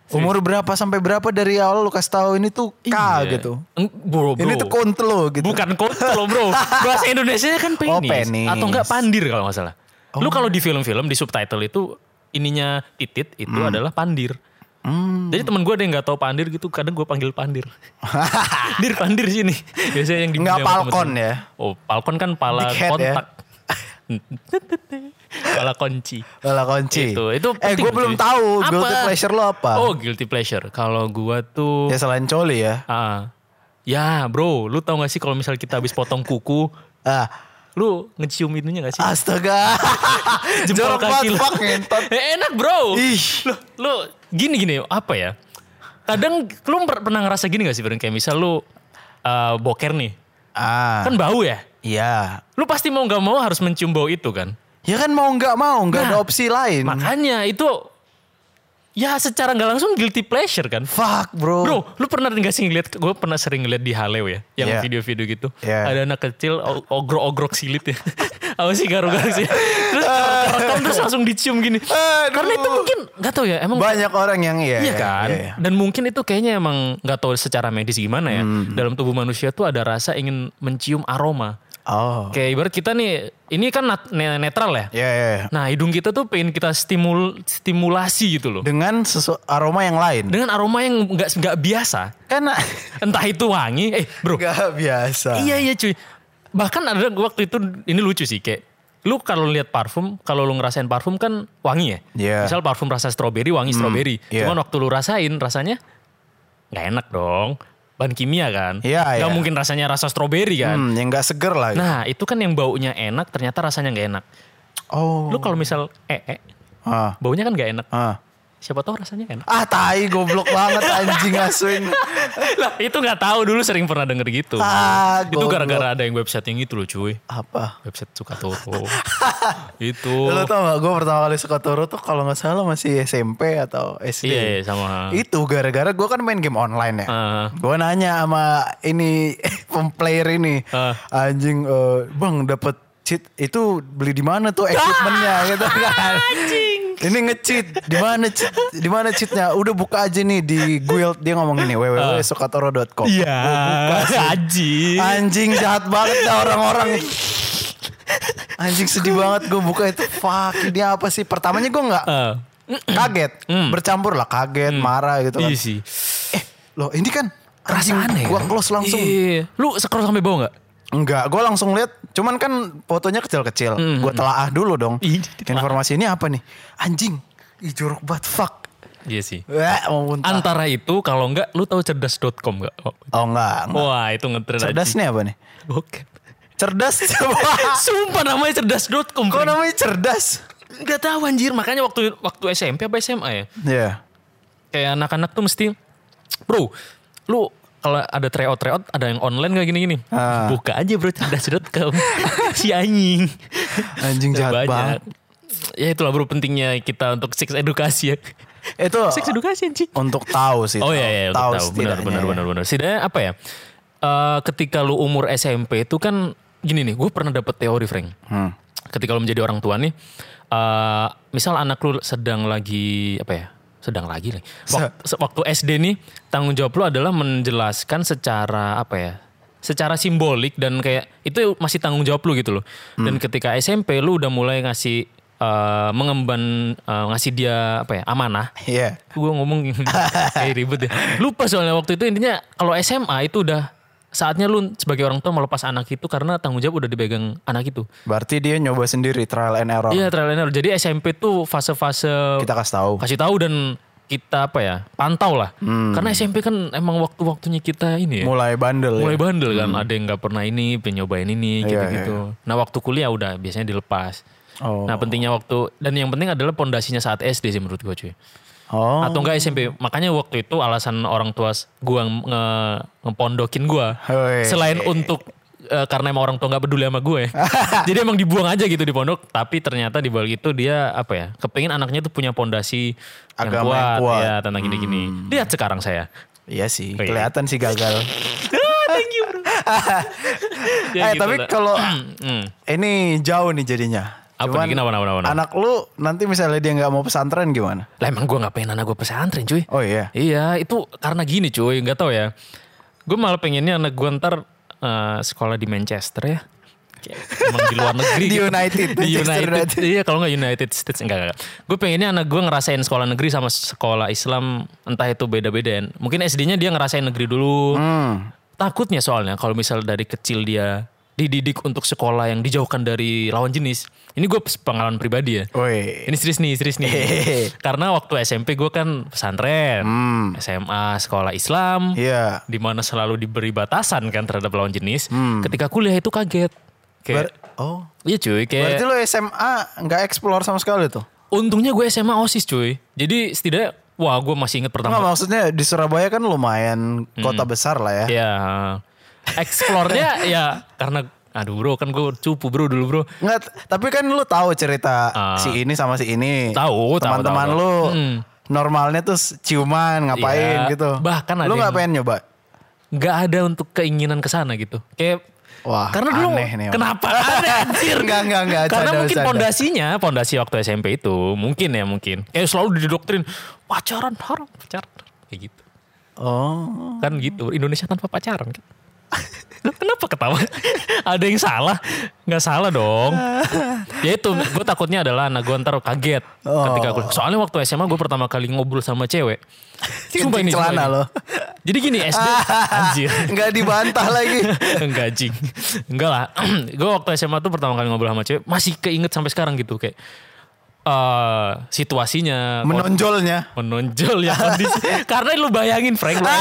S3: Umur berapa sampai berapa dari awal lu kasih tahu ini tuh K
S1: Iya.
S3: gitu.
S1: Eng- Bro, bro.
S3: Ini tuh kontlo gitu.
S1: Bukan kotel bro. Bahasa Indonesia kan penis.
S3: Oh, penis. Oh.
S1: Atau enggak pandir kalau nggak salah. Lu kalau di film-film di subtitle itu ininya titit itu
S3: Hmm.
S1: adalah pandir. Jadi temen gue ada yang gak tau pandir gitu, kadang gue panggil pandir. dir, pandir sini. Biasanya yang
S3: Nggak
S1: dibilang sama
S3: Falcon
S1: temen-temen.
S3: ya?
S1: Oh, palkon kan pala
S3: Big head ya?
S1: kontak. pala kunci.
S3: Lala kunci.
S1: Itu, itu
S3: eh
S1: penting
S3: gue
S1: loh,
S3: belum
S1: cuy.
S3: tahu
S1: Apa?
S3: guilty pleasure lo apa.
S1: Oh, guilty pleasure. Kalau gue tuh...
S3: Ya selain coli ya.
S1: Ah. ya bro, lu tau gak sih kalau misal kita habis potong kuku,
S3: Ah,
S1: lu ngecium itunya gak sih?
S3: astaga.
S1: Jempol
S3: Ah, Jorok banget
S1: kaki lu.
S3: fuck ngentot.
S1: Eh, enak bro.
S3: Ih.
S1: Lu, lu gini gini apa ya? Kadang lu per- pernah ngerasa gini gak sih Bren? Kayak misal lu eh, boker nih.
S3: Ah.
S1: Kan bau ya?
S3: Iya.
S1: Lu pasti mau gak mau harus mencium bau itu kan?
S3: Ya kan mau nggak mau nggak
S1: Nah.
S3: ada opsi lain.
S1: Makanya itu ya secara nggak langsung guilty pleasure kan?
S3: Fuck bro.
S1: Bro, lu pernah nggak sih ngeliat? Gue pernah sering ngeliat di Halew ya, yang
S3: Iya.
S1: video-video gitu.
S3: Iya.
S1: Ada anak kecil o- ogrok-ogrok silit ya. Apa sih garuk-garuk sih? Terus rekam terus langsung dicium gini.
S3: Ah. Aduh.
S1: Karena itu mungkin nggak tahu ya, emang
S3: Banyak orang yang iya.
S1: Iya
S3: iya,
S1: kan?
S3: iya, iya.
S1: Dan mungkin itu kayaknya emang nggak tahu secara medis gimana ya.
S3: Hmm.
S1: Dalam tubuh manusia tuh ada rasa ingin mencium aroma.
S3: Oh.
S1: Kayak ibarat kita nih, ini kan nat- ne- netral ya.
S3: Iya, iya. iya.
S1: Nah hidung kita tuh pengen kita stimul stimulasi gitu loh.
S3: Dengan sesu- aroma yang lain.
S1: Dengan aroma yang nggak nggak biasa.
S3: Karena
S1: Entah itu wangi, eh bro.
S3: nggak biasa.
S1: Iya iya cuy. Bahkan ada waktu itu ini lucu sih kayak lu kalau lihat parfum, kalau lu ngerasain parfum kan wangi ya.
S3: Iya.
S1: Misal parfum rasa stroberi, wangi stroberi.
S3: iya.
S1: Cuman waktu lu rasain rasanya nggak enak dong. Bahan kimia kan.
S3: Iya,
S1: Nggak
S3: iya.
S1: mungkin rasanya rasa stroberi kan.
S3: Hmm, yang nggak seger lah.
S1: Nah, itu kan yang baunya enak ternyata rasanya nggak enak.
S3: oh.
S1: Lu kalau misal ee,
S3: Ah.
S1: baunya kan nggak enak.
S3: Ah.
S1: Siapa tahu rasanya enak.
S3: Ah tai goblok banget anjing asuin.
S1: lah, itu nggak tahu dulu sering pernah denger gitu.
S3: Ah,
S1: itu
S3: goblok.
S1: gara-gara ada yang website yang itu loh, cuy.
S3: Apa?
S1: Website suka toko. itu.
S3: Lo tau gak gue pertama kali suka Toro tuh kalau gak salah masih SMP atau SD.
S1: Iya, iya, sama.
S3: Itu gara-gara gue kan main game online ya.
S1: Ah.
S3: Gue nanya sama ini player ini.
S1: Ah.
S3: Anjing eh, bang dapet cheat itu beli di mana tuh equipmentnya gitu kan. Ini nge-cheat. Di mana cheat? Di mana cheatnya? Udah buka aja nih di guild dia ngomong ini www.sukatoro.com.
S1: Iya, haji.
S3: Anjing jahat banget dah orang-orang. Anjing sedih banget gue buka itu. Fuck, ini apa sih? Pertamanya gue nggak
S1: Eh,
S3: kaget, bercampur lah kaget, marah gitu kan.
S1: iya sih.
S3: Eh, loh ini kan
S1: Rasa aneh.
S3: anjing, Gue
S1: kan?
S3: close langsung.
S1: Iya. Lu scroll sampai bawah nggak?
S3: Enggak, gue langsung lihat. Cuman kan fotonya kecil-kecil. Gue telaah dulu dong.
S1: Hmm, Ih, ditelaah.
S3: Informasi ini apa nih? Anjing, ih jorok banget fuck.
S1: Iya sih.
S3: Wah, mau muntah.
S1: Antara itu kalau enggak lu tahu cerdas.com enggak? Oh.
S3: oh enggak, enggak.
S1: Wah, itu ngetrend aja.
S3: Cerdas nih apa nih?
S1: Oke.
S3: Cerdas coba.
S1: Sumpah namanya cerdas.com.
S3: Kok
S1: Kok
S3: namanya cerdas?
S1: enggak tahu anjir, makanya waktu waktu SMP apa SMA ya?
S3: Ya.
S1: Kayak anak-anak tuh mesti Bro, lu kalau ada tryout tryout ada yang online gak gini-gini.
S3: Ah.
S1: Buka aja bro cerdas.com. si anjing.
S3: Anjing jahat banget.
S1: Ya itulah bro pentingnya kita untuk seks edukasi ya.
S3: Itu
S1: Seks edukasi anjing.
S3: untuk tahu sih.
S1: Oh iya iya tahu, tahu. benar
S3: setidaknya,
S1: benar
S3: ya.
S1: benar benar. Setidaknya apa ya? Eh, ketika lu umur SMP itu kan gini nih, gue pernah dapet teori Frank.
S3: Hmm.
S1: Ketika lu menjadi orang tua nih, eh misal anak lu sedang lagi apa ya? Sedang lagi nih. Wak- se- Waktu, SD nih tanggung jawab lu adalah menjelaskan secara apa ya? Secara simbolik dan kayak itu masih tanggung jawab lu gitu loh.
S3: Hmm.
S1: Dan ketika SMP lu udah mulai ngasih eh, mengemban eh, ngasih dia apa ya? amanah
S3: Iya.
S1: gue ngomong kayak ribet ya. Lupa soalnya waktu itu intinya kalau SMA itu udah saatnya lu sebagai orang tua melepas anak itu karena tanggung jawab udah dipegang anak itu.
S3: Berarti dia nyoba sendiri trial and error.
S1: Iya trial and error. Jadi SMP tuh fase-fase
S3: Kita kasih tahu.
S1: kasih tahu dan kita apa ya pantau lah. Karena SMP kan emang waktu-waktunya kita ini ya.
S3: Hmm. Mulai bandel
S1: Mulai
S3: ya.
S1: bandel kan, ada yang nggak pernah ini, pengen nyobain ini
S3: Iya,
S1: gitu-gitu. Nah waktu kuliah udah biasanya dilepas.
S3: Oh.
S1: Nah pentingnya waktu dan yang penting adalah pondasinya saat SD sih menurut gue cuy.
S3: Oh.
S1: Atau enggak SMP. Makanya waktu itu alasan orang tua s- gua nge ngepondokin gua.
S3: Hei.
S1: Selain untuk eh, karena emang orang tua nggak peduli sama gue. Jadi emang dibuang aja gitu di pondok, tapi ternyata di balik itu dia apa ya? Kepengin anaknya tuh punya pondasi yang
S3: Agama
S1: kuat,
S3: yang kuat. Hmm.
S1: ya tentang gini-gini. Lihat sekarang saya.
S3: Iya sih,
S1: iya.
S3: kelihatan sih gagal.
S1: Ya
S3: eh,
S1: gitu
S3: tapi
S1: lah.
S3: kalau
S1: Hmm.
S3: ini jauh nih jadinya.
S1: Apa nih? Kenapa, kenapa, kenapa?
S3: Anak lu nanti misalnya dia nggak mau pesantren gimana?
S1: Lah emang gue gak pengen anak gue pesantren cuy.
S3: Oh iya.
S1: Iya itu karena gini cuy gak tahu ya. Gue malah pengennya anak gue ntar eh, sekolah di Manchester ya. Kayak Emang di luar negeri
S3: Di
S1: gitu.
S3: United,
S1: Di
S3: Manchester
S1: United.
S3: United.
S1: Iya kalau gak United States. Enggak, enggak. Gue pengennya anak gue ngerasain sekolah negeri sama sekolah Islam. Entah itu beda-beda ya. Mungkin SD-nya dia ngerasain negeri dulu.
S3: Hmm.
S1: Takutnya soalnya kalau misal dari kecil dia dididik untuk sekolah yang dijauhkan dari lawan jenis. Ini gue pengalaman pribadi ya.
S3: Woi.
S1: Ini serius nih, serius nih. Karena waktu SMP gue kan pesantren, SMA sekolah Islam,
S3: Hmm. Iya.
S1: di mana selalu diberi batasan kan terhadap lawan jenis. Ketika kuliah itu kaget. Kayak,
S3: Hmm. Ber- oh.
S1: iya cuy,
S3: Berarti
S1: kayak
S3: lu SMA nggak explore sama sekali tuh?
S1: untungnya gue SMA osis cuy. Jadi setidaknya, wah gue masih inget
S3: Nggak
S1: pertama.
S3: maksudnya di Surabaya kan lumayan
S1: Hmm.
S3: kota besar lah ya.
S1: Ya, explore-nya ya karena, aduh bro kan gue cupu bro dulu bro.
S3: Nggak, t- tapi kan lu tahu cerita
S1: Ah.
S3: si ini sama si ini.
S1: Tahu, tahu,
S3: Teman-teman
S1: tahu, tahu.
S3: lu
S1: Mm.
S3: normalnya tuh s- ciuman ngapain
S1: Iya.
S3: gitu.
S1: Bahkan ada
S3: lu nggak
S1: yang-
S3: pengen nyoba.
S1: Nggak ada untuk keinginan ke sana gitu. Kayak
S3: Wah,
S1: karena dulu
S3: aneh nih.
S1: kenapa aneh anjir
S3: Enggak, enggak, enggak.
S1: Karena
S3: Bercanda,
S1: mungkin
S3: bercanda.
S1: pondasinya, pondasi waktu SMP itu mungkin ya mungkin. Kayak selalu didoktrin pacaran haram, pacaran haram." kayak gitu.
S3: Oh.
S1: Kan gitu, Indonesia tanpa pacaran kan. Lu Kenapa ketawa? Ada yang salah? Nggak salah dong. ya itu, gue takutnya adalah anak gue ntar kaget ketika aku.
S3: Oh.
S1: Soalnya waktu SMA gue pertama kali ngobrol sama cewek. Sumpah ini,
S3: Kencing
S1: sumpah
S3: celana
S1: ini.
S3: lo.
S1: Jadi gini SD, anjir.
S3: Enggak dibantah lagi.
S1: Enggak jing. Enggak lah. gue waktu SMA tuh pertama kali ngobrol sama cewek masih keinget sampai sekarang gitu kayak eh situasinya
S3: Menonjolnya.
S1: menonjol ya kondisi. Karena lu bayangin Frank lu,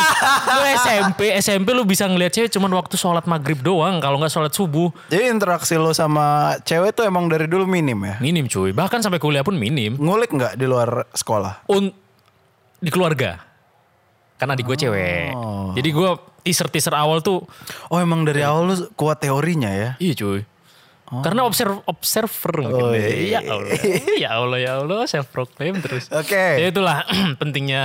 S1: lu SMP, SMP lu bisa ngeliat cewek cuman waktu sholat maghrib doang kalau nggak sholat subuh.
S3: Jadi interaksi lo sama cewek tuh emang dari dulu minim ya.
S1: Minim cuy, bahkan sampai kuliah pun minim.
S3: Ngulik nggak di luar sekolah?
S1: Un di keluarga. Karena adik gue cewek. Jadi gue teaser-teaser awal tuh
S3: Oh emang dari awal lu kuat teorinya ya?
S1: Iya cuy. Karena observ observer mungkin.
S3: Oh,
S1: ya Allah. ya Allah ya Allah self proclaim terus.
S3: Oke.
S1: Ya itulah pentingnya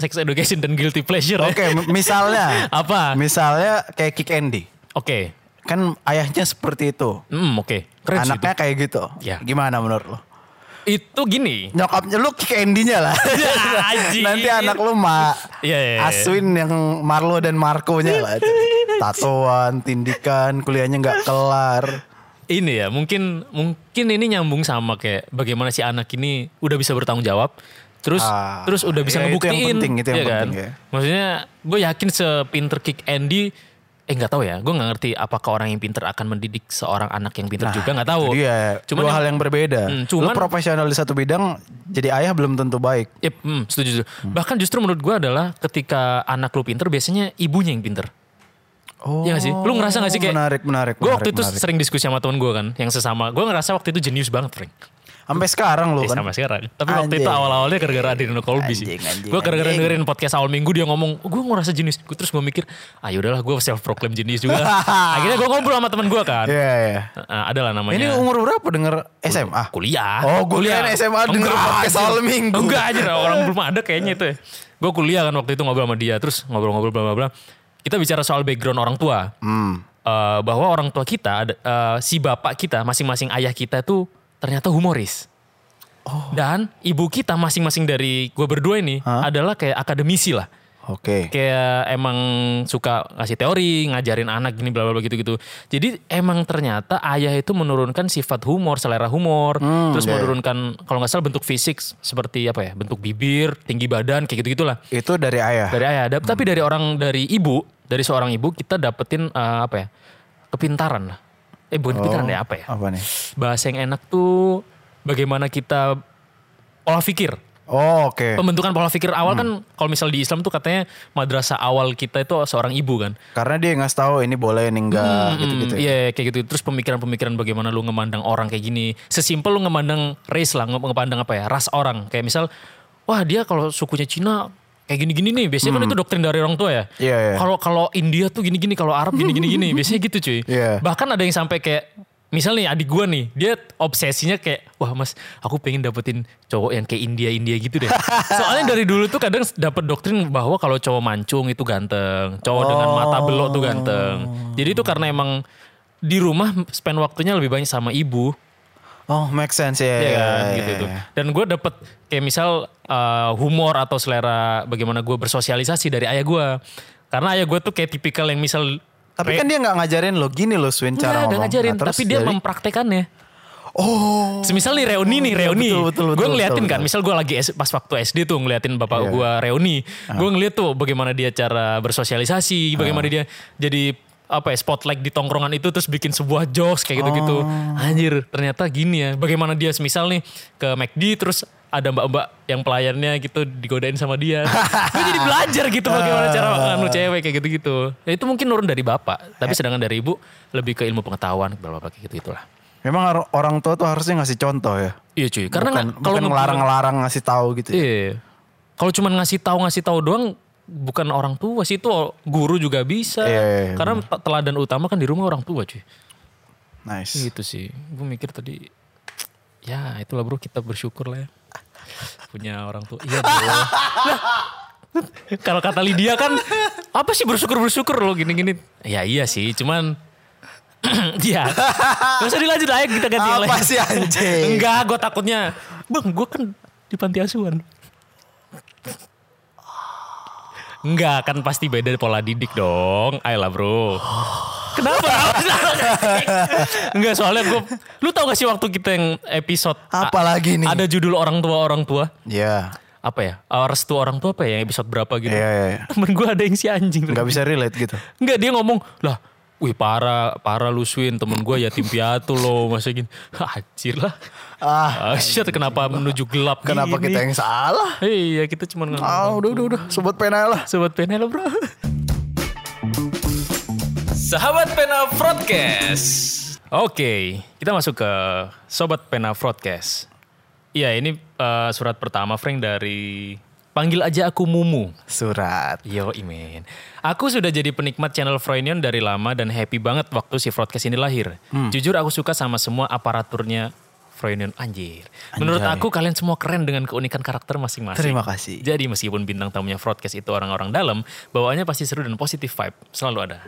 S1: sex education dan guilty pleasure. ya.
S3: Oke, m- misalnya.
S1: Apa?
S3: Misalnya kayak Kick Andy.
S1: Oke.
S3: Kan ayahnya seperti itu.
S1: Hmm, oke. Keren sih
S3: Anaknya kayak gitu.
S1: Ya.
S3: Gimana menurut lo?
S1: itu. Itu gini.
S3: Nyokapnya lu Kick Andy-nya lah.
S1: Ya, anjir.
S3: Nanti anak lu Ma
S1: Iya, iya, iya.
S3: Aswin yang Marlo dan Marco-nya lah. itu. Tatoan, tindikan, kuliahnya nggak kelar.
S1: Ini ya, mungkin mungkin ini nyambung sama kayak bagaimana si anak ini udah bisa bertanggung jawab. Terus
S3: Ah,
S1: terus udah bisa
S3: ya, itu yang
S1: ngebuktiin. kan?
S3: penting, itu yang
S1: iya
S3: penting, ya.
S1: Maksudnya gue yakin sepinter kick Andy eh nggak tahu ya, gue nggak ngerti apakah orang yang pinter akan mendidik seorang anak yang pinter juga nggak tahu.
S3: Iya,
S1: Cuman
S3: Nah, dua
S1: yang-
S3: hal yang berbeda.
S1: Hmm, cuman-
S3: Lu profesional di satu bidang, jadi ayah belum tentu baik.
S1: Yep, hmm, setuju. setuju. Bahkan justru menurut gue adalah ketika anak lu pinter, biasanya ibunya yang pinter.
S3: Oh,
S1: Iya gak sih? Lu ngerasa gak sih kayak?
S3: Menarik, menarik.
S1: Gue waktu
S3: menarik,
S1: itu
S3: menarik.
S1: sering diskusi sama temen gue kan, yang sesama. Gue ngerasa waktu itu jenius banget, Frank.
S3: sampai sekarang lu
S1: Eh,
S3: kan.
S1: sama sekarang. Tapi waktu
S3: Anjing.
S1: itu awal-awalnya gara-gara Adriano Colby sih.
S3: Anjing, anjing,
S1: Gue gara-gara
S3: anjing.
S1: dengerin podcast awal minggu dia ngomong, gue ngerasa jenius. Gua, terus gue mikir, ah yaudahlah gue self proclaim jenius juga. Akhirnya gue ngobrol sama temen gue kan.
S3: Iya, iya.
S1: Nah, ada lah namanya.
S3: Ini umur berapa denger SMA?
S1: kuliah.
S3: Oh, gua kirain SMA denger
S1: Enggak,
S3: podcast
S1: anjir.
S3: awal minggu.
S1: Enggak aja, orang belum ada kayaknya itu ya. Gue kuliah kan waktu itu ngobrol sama dia, terus ngobrol-ngobrol bla bla bla. Kita bicara soal background orang tua.
S3: Hmm.
S1: Eh, bahwa orang tua kita, ada- eh, si bapak kita, masing-masing ayah kita tuh ternyata humoris.
S3: Oh.
S1: Dan ibu kita masing-masing dari gue berdua ini adalah kayak akademisi lah
S3: Oke.
S1: kayak emang suka ngasih teori, ngajarin anak gini bla bla bla gitu-gitu. Jadi emang ternyata ayah itu menurunkan sifat humor, selera humor, terus
S3: iya, iya.
S1: menurunkan kalau nggak salah bentuk fisik seperti apa ya, bentuk bibir, tinggi badan kayak gitu-gitulah.
S3: Itu dari ayah.
S1: Dari ayah, Dap- tapi dari orang dari ibu, dari seorang ibu kita dapetin eh, apa ya? kepintaran lah. Eh bukan
S3: Oh.
S1: kepintaran ya apa ya?
S3: Apa nih?
S1: Bahasa yang enak tuh bagaimana kita olah pikir
S3: Oh, oke. Hmm.
S1: pembentukan pola pikir awal kan kalau misal di Islam tuh katanya madrasah awal kita itu seorang ibu kan.
S3: Karena dia ngasih tahu ini boleh ini enggak
S1: Hmm,
S3: Hmm, gitu-gitu.
S1: Iya
S3: ya.
S1: kayak gitu. Terus pemikiran-pemikiran bagaimana lu ngemandang orang kayak gini. Sesimpel lu ngemandang race lah, nge- ngemandang apa ya, ras orang. Kayak misal, wah dia kalau sukunya Cina kayak gini-gini nih. Biasanya kan itu doktrin dari orang tua ya.
S3: Hmm. Iya, iya.
S1: Kalau kalau India tuh gini-gini, kalau Arab gini-gini gini. Biasanya gitu cuy.
S3: Iya.
S1: Bahkan ada yang sampai kayak Misal nih adik gua nih, dia obsesinya kayak, wah mas aku pengen dapetin cowok yang kayak India-India gitu deh. Soalnya dari dulu tuh kadang dapet doktrin bahwa kalau cowok mancung itu ganteng, cowok dengan mata belok tuh ganteng. Jadi itu karena emang di rumah spend waktunya lebih banyak sama ibu,
S3: Oh, make sense
S1: ya
S3: ya. ya,
S1: kan,
S3: ya,
S1: gitu
S3: ya,
S1: tuh.
S3: ya.
S1: Dan gue dapet kayak misal uh, humor atau selera bagaimana gue bersosialisasi dari ayah gue, karena ayah gue tuh kayak tipikal yang misal
S3: Tapi kan dia nggak ngajarin lo gini lo Swin
S1: Nggak,
S3: cara
S1: nggak
S3: ngomong.
S1: ngajarin,
S3: Nah, terus
S1: tapi dia
S3: jadi-
S1: mempraktekannya.
S3: Oh,
S1: Semisal nih reuni nih
S3: iya,
S1: reuni,
S3: betul, betul,
S1: gue
S3: betul,
S1: ngeliatin
S3: betul, Iya.
S1: kan,
S3: betul.
S1: misal gue lagi S- pas waktu SD tuh ngeliatin bapak gue reuni,
S3: Ah.
S1: gue ngeliat tuh bagaimana dia cara bersosialisasi, bagaimana dia jadi apa ya spotlight di tongkrongan itu terus bikin sebuah jokes kayak gitu-gitu.
S3: Oh.
S1: Anjir, ternyata gini ya. Bagaimana dia semisal nih ke McD terus ada mbak-mbak yang pelayannya gitu digodain sama dia. gue jadi belajar gitu bagaimana cara
S3: Ah.
S1: nganu cewek kayak gitu-gitu. Ya, itu mungkin nurun dari bapak,
S3: Eh.
S1: tapi sedangkan dari ibu lebih ke ilmu pengetahuan, bla bla bla, kayak gitu-gitulah.
S3: memang or- orang tua tuh harusnya ngasih contoh ya.
S1: Iya cuy, karena
S3: bukan,
S1: nggak- kalau
S3: bukan
S1: nge-
S3: ngelarang-ngelarang ngasih tahu gitu. ya.
S1: Iya. Kalau cuman ngasih tahu ngasih tahu doang bukan orang tua sih itu guru juga bisa.
S3: Iya, iya, iya,
S1: Karena te- teladan utama kan di rumah orang tua cuy.
S3: Nice.
S1: Gitu sih. Gue mikir tadi ya itulah bro kita bersyukur lah ya. Punya orang tua. Iya bro. Lah, Kalau kata Lydia kan apa sih bersyukur-bersyukur lo gini-gini. Ya iya sih cuman Iya. Gak usah dilanjut aja kita ganti yang
S3: Apa
S1: lain.
S3: sih anjing?
S1: Enggak, gue takutnya. Bang, gue kan di panti asuhan. Enggak, kan pasti beda pola didik dong. Ayolah bro. Kenapa? Enggak, soalnya gue... Lu tau gak sih waktu kita yang episode...
S3: Apa lagi nih?
S1: Ada judul orang tua-orang tua.
S3: Iya.
S1: Apa ya? Eh, Restu orang tua apa ya? Yang episode berapa gitu.
S3: Iya, iya, iya.
S1: Temen gue ada yang si anjing.
S3: Nggak bisa relate gitu.
S1: Enggak dia ngomong lah Wih parah, parah lu Swin, temen gue yatim piatu loh, masa gini. Hajir lah. Ah, shit, kenapa menuju gelap
S3: Kenapa
S1: gini?
S3: kita yang salah?
S1: Iya, kita cuma ngomong.
S3: Ah, udah udah udah, sobat pena lah.
S1: Sobat Pena lo bro. Sahabat Pena Broadcast. Oke, kita masuk ke Sobat Pena Broadcast. Iya, ini eh, surat pertama Frank dari Panggil aja aku Mumu.
S3: Surat.
S1: Yo, Imin. Aku sudah jadi penikmat channel Froynion dari lama dan happy banget waktu si broadcast ini lahir.
S3: Hmm.
S1: Jujur aku suka sama semua aparaturnya Froynion anjir. Menurut
S3: Anjay.
S1: aku kalian semua keren dengan keunikan karakter masing-masing.
S3: Terima kasih.
S1: Jadi meskipun bintang tamunya broadcast itu orang-orang dalam, bawaannya pasti seru dan positif vibe selalu ada.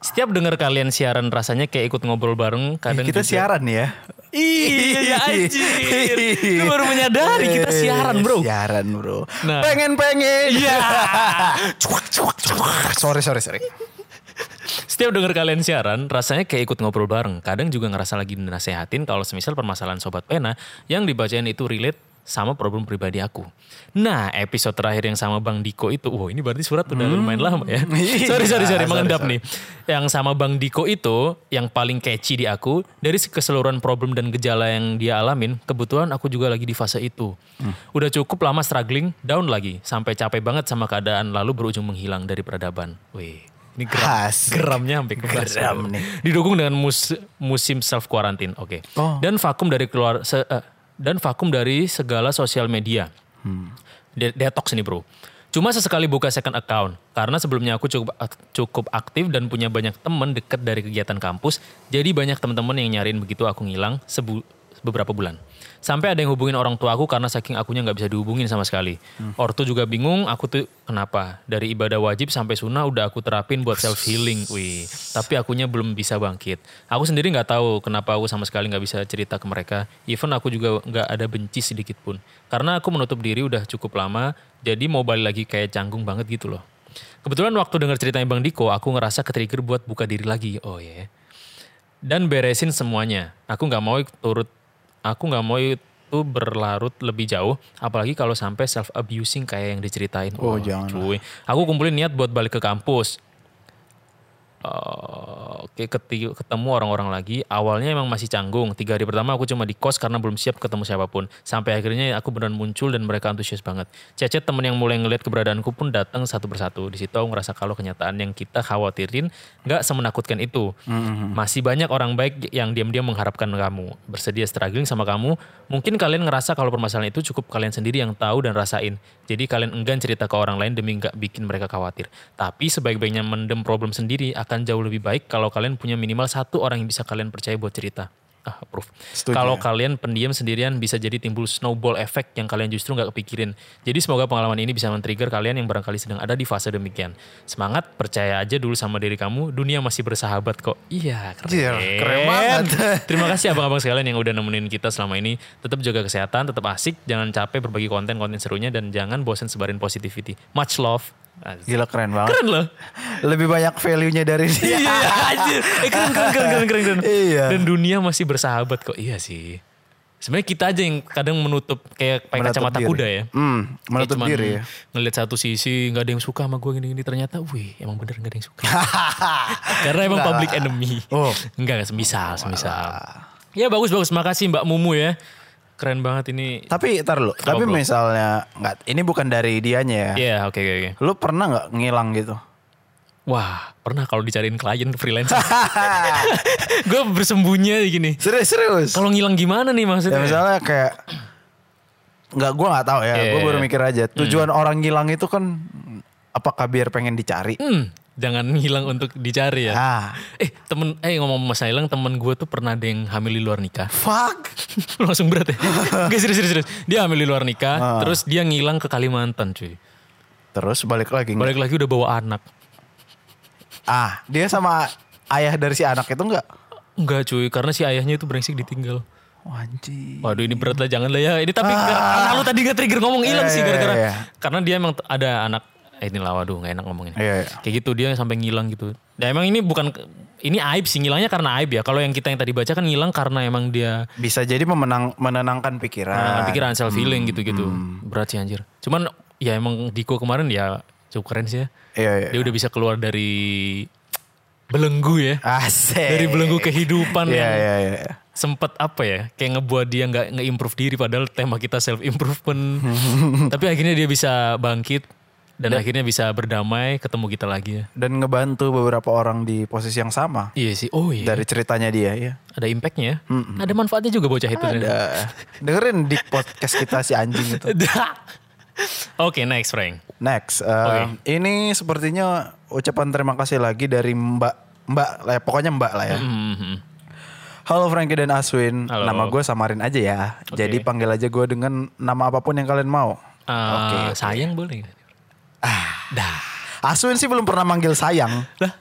S1: Setiap dengar kalian siaran rasanya kayak ikut ngobrol bareng, kadang
S3: Kita
S1: juga-
S3: siaran ya.
S1: Iya anjir. Lu baru menyadari kita siaran, Bro.
S3: Siaran, Bro.
S1: Nah.
S3: Pengen-pengen.
S1: Iya.
S3: Cuak, cuak, cuak. sorry, sorry, sorry.
S1: Setiap denger kalian siaran, rasanya kayak ikut ngobrol bareng. Kadang juga ngerasa lagi dinasehatin kalau semisal permasalahan Sobat Pena yang dibacain itu relate sama problem pribadi aku. Nah, episode terakhir yang sama Bang Diko itu, wow ini berarti surat udah lumayan lama ya. sorry, sorry, sorry,
S3: Hmm. Iya. Ah, Sorry,
S1: mengendap
S3: sorry.
S1: nih. Yang sama Bang Diko itu, yang paling catchy di aku, dari keseluruhan problem dan gejala yang dia alamin, kebetulan aku juga lagi di fase itu.
S3: Hmm.
S1: Udah cukup lama struggling, down lagi, sampai capek banget sama keadaan, lalu berujung menghilang dari peradaban. Wih, ini geram,
S3: Asik.
S1: geramnya sampai ke bawah.
S3: Geram nih.
S1: Didukung dengan mus- musim self quarantine, oke.
S3: Oh.
S1: Dan vakum dari keluar se- eh, dan vakum dari segala sosial media.
S3: Hmm.
S1: De- detox nih bro. Cuma sesekali buka second account karena sebelumnya aku cukup ak- cukup aktif dan punya banyak temen deket dari kegiatan kampus. Jadi banyak teman-teman yang nyariin begitu aku ngilang sebu- beberapa bulan. Sampai ada yang hubungin orang tua aku karena saking akunya nggak bisa dihubungin sama sekali. Ortu juga bingung aku tuh kenapa. Dari ibadah wajib sampai sunnah udah aku terapin buat self healing. Wih, tapi akunya belum bisa bangkit. Aku sendiri nggak tahu kenapa aku sama sekali nggak bisa cerita ke mereka. Even aku juga nggak ada benci sedikit pun. Karena aku menutup diri udah cukup lama, jadi mau balik lagi kayak canggung banget gitu loh. Kebetulan waktu dengar ceritanya Bang Diko, aku ngerasa ketrigger buat buka diri lagi. Oh ya. Dan beresin semuanya. Aku nggak mau turut, aku nggak mau itu berlarut lebih jauh. Apalagi kalau sampai self abusing kayak yang diceritain. Wah,
S3: Oh, jangan.
S1: cuy. Aku kumpulin niat buat balik ke kampus. Eh, Oke, keti- ketemu orang-orang lagi. Awalnya emang masih canggung. Tiga hari pertama aku cuma di kos karena belum siap ketemu siapapun. Sampai akhirnya aku beneran muncul dan mereka antusias banget. Cecet temen yang mulai ngeliat keberadaanku pun datang satu persatu. Di situ aku ngerasa kalau kenyataan yang kita khawatirin nggak semenakutkan itu.
S3: Mm-hmm.
S1: Masih banyak orang baik yang diam-diam mengharapkan kamu. Bersedia struggling sama kamu. Mungkin kalian ngerasa kalau permasalahan itu cukup kalian sendiri yang tahu dan rasain. Jadi kalian enggan cerita ke orang lain demi nggak bikin mereka khawatir. Tapi sebaik-baiknya mendem problem sendiri akan jauh lebih baik kalau kalian punya minimal satu orang yang bisa kalian percaya buat cerita. Ah, approve.
S3: Setuju
S1: Kalau
S3: ya.
S1: kalian pendiam sendirian bisa jadi timbul snowball effect yang kalian justru nggak kepikirin. Jadi semoga pengalaman ini bisa men-trigger kalian yang barangkali sedang ada di fase demikian. Semangat, percaya aja dulu sama diri kamu, dunia masih bersahabat kok. Iya, keren.
S3: Jir, keren banget.
S1: Terima kasih abang-abang sekalian yang udah nemenin kita selama ini. Tetap jaga kesehatan, tetap asik, jangan capek berbagi konten-konten serunya dan jangan bosan sebarin positivity. Much love. Asik.
S3: Gila keren banget.
S1: Keren loh.
S3: Lebih banyak value-nya dari dia.
S1: Iya, anjir. Eh, keren, keren, keren, keren, keren, keren.
S3: Iya.
S1: Dan dunia masih bersahabat kok. Iya sih. Sebenarnya kita aja yang kadang menutup kayak pakai
S3: Menutup
S1: kacamata
S3: diri.
S1: kuda ya.
S3: Hmm,
S1: Kayak
S3: menutup
S1: cuman
S3: diri ya.
S1: Ngeliat satu sisi nggak ada yang suka sama gue gini-gini ternyata, wih emang bener nggak ada yang suka. Karena emang public enemy.
S3: Oh.
S1: Enggak, semisal, semisal. Ya bagus bagus, makasih Mbak Mumu ya. Keren banget ini.
S3: Tapi tar lu, tapi
S1: bro?
S3: misalnya nggak ini bukan dari dianya ya.
S1: Iya, oke oke oke.
S3: Lu pernah nggak ngilang gitu?
S1: Wah, pernah kalau dicariin klien freelancer. gue bersembunyi gini.
S3: Serius serius.
S1: Kalau ngilang gimana nih
S3: Ya
S1: maksudnya?
S3: misalnya kayak nggak gua nggak tahu ya,
S1: Iya,
S3: gua
S1: iya,
S3: baru
S1: iya.
S3: mikir aja. Tujuan orang ngilang itu kan apakah biar pengen dicari?
S1: Hmm, jangan hilang untuk dicari ya.
S3: Ah,
S1: Eh temen, eh ngomong masalah hilang temen gue tuh pernah ada yang hamil di luar nikah.
S3: fuck.
S1: Langsung berat ya. Gak serius, serius, serius. Dia hamil di luar nikah,
S3: Ah.
S1: terus dia ngilang ke Kalimantan cuy.
S3: Terus balik lagi.
S1: Balik lagi udah bawa anak.
S3: Ah, dia sama ayah dari si anak itu nggak? Oh,
S1: Enggak cuy, karena si ayahnya itu brengsek ditinggal.
S3: Wanji.
S1: Waduh ini berat lah, jangan lah ya. Ini tapi gara- karena lu tadi gak trigger ngomong hilang
S3: Ah. Iya,
S1: sih
S3: iya,
S1: gara-gara.
S3: iya.
S1: Karena dia emang t- ada anak, eh, inilah waduh gak enak ngomongin.
S3: Iya, iya.
S1: Kayak gitu dia sampai ngilang gitu. Nah emang ini bukan, ini aib sih, ngilangnya karena aib ya. Kalau yang kita yang tadi baca kan ngilang karena emang dia
S3: Bisa jadi memenang, menenangkan
S1: Nah,
S3: pikiran.
S1: pikiran self healing
S3: Hmm,
S1: gitu-gitu. Berat sih anjir. Cuman ya emang Diko kemarin ya cukup keren sih ya.
S3: Iya, iya.
S1: Dia udah bisa keluar dari belenggu ya.
S3: Asik.
S1: Dari ya. belenggu kehidupan
S3: Ah, Iya,
S1: yang
S3: iya, iya.
S1: sempet apa ya. Kayak ngebuat dia nggak nge-improve diri padahal tema kita self improvement. Tapi akhirnya dia bisa bangkit dan akhirnya bisa berdamai ketemu kita lagi ya.
S3: Dan ngebantu beberapa orang di posisi yang sama.
S1: Iya sih. Oh iya.
S3: Dari ceritanya dia ya.
S1: Ada impactnya ya. Ada manfaatnya juga bocah itu. ternyata.
S3: Ada. Dengerin di podcast kita si anjing itu.
S1: Oke next Frank.
S3: Next. eh, Ini sepertinya ucapan terima kasih lagi dari mbak. Mbak lah ya, pokoknya mbak lah ya.
S1: Mhm.
S3: Halo Frankie dan Aswin.
S1: Halo.
S3: Nama gue samarin aja ya. Jadi panggil aja gue dengan nama apapun yang kalian mau.
S1: Ah, sayang boleh nggak? Dah.
S3: Aswin sih belum pernah manggil sayang
S1: Lah,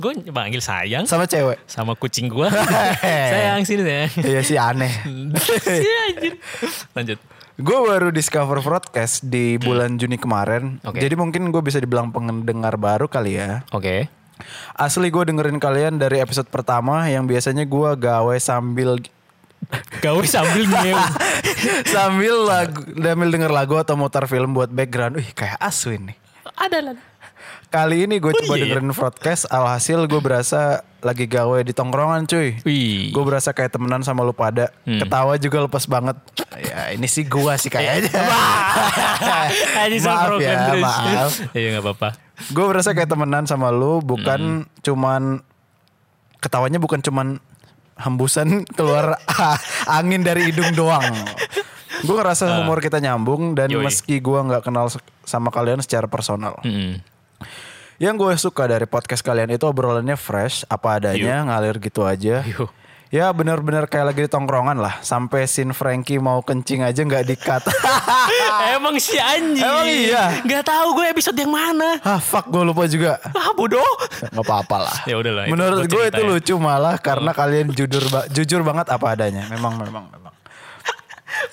S1: gue panggil sayang
S3: sama cewek.
S1: sama kucing gue. sayang sini sayang.
S3: Iya sih aneh.
S1: Si Iya, anjir. Lanjut.
S3: Gue baru discover broadcast di bulan Juni kemarin.
S1: Oke.
S3: Jadi mungkin gue bisa dibilang pendengar baru kali ya.
S1: Oke.
S3: Asli gue dengerin kalian dari episode pertama yang biasanya gue gawe sambil
S1: Gawe sambil ngewe.
S3: sambil lagu, sambil denger lagu atau mutar film buat background. Wih kayak Aswin nih.
S1: Ada lah.
S3: Kali ini gue coba
S1: iya, iya.
S3: dengerin broadcast, alhasil gue berasa lagi gawe di tongkrongan cuy.
S1: Wih.
S3: Gue berasa kayak temenan sama lu pada. Ketawa juga lepas banget. Hmm. Ya ini sih gua sih kayaknya.
S1: Anjing, so
S3: maaf
S1: program
S3: ya,
S1: terus.
S3: maaf.
S1: Iya nggak apa-apa.
S3: Gue berasa kayak temenan sama lu, bukan cuman ketawanya bukan cuman hembusan keluar a- angin dari hidung doang. Gue ngerasa humor kita nyambung dan
S1: Yoi.
S3: meski gua nggak kenal se- sama kalian secara personal.
S1: Mm-mm.
S3: Yang gue suka dari podcast kalian itu obrolannya fresh, apa adanya, ngalir gitu aja.
S1: Yuh.
S3: Ya bener-bener kayak lagi di tongkrongan lah. Sampai sin Frankie mau kencing aja nggak dikat.
S1: Ah. Emang si anjing.
S3: Emang iya?
S1: Gak tahu gue episode yang mana.
S3: ah fuck gue lupa juga.
S1: Ah bodoh.
S3: Gak apa-apa lah.
S1: Ya udahlah, itu
S3: Menurut
S1: buat
S3: gue
S1: cerita
S3: itu
S1: ya.
S3: lucu malah karena kalian jujur ba- jujur banget apa adanya. Memang memang memang.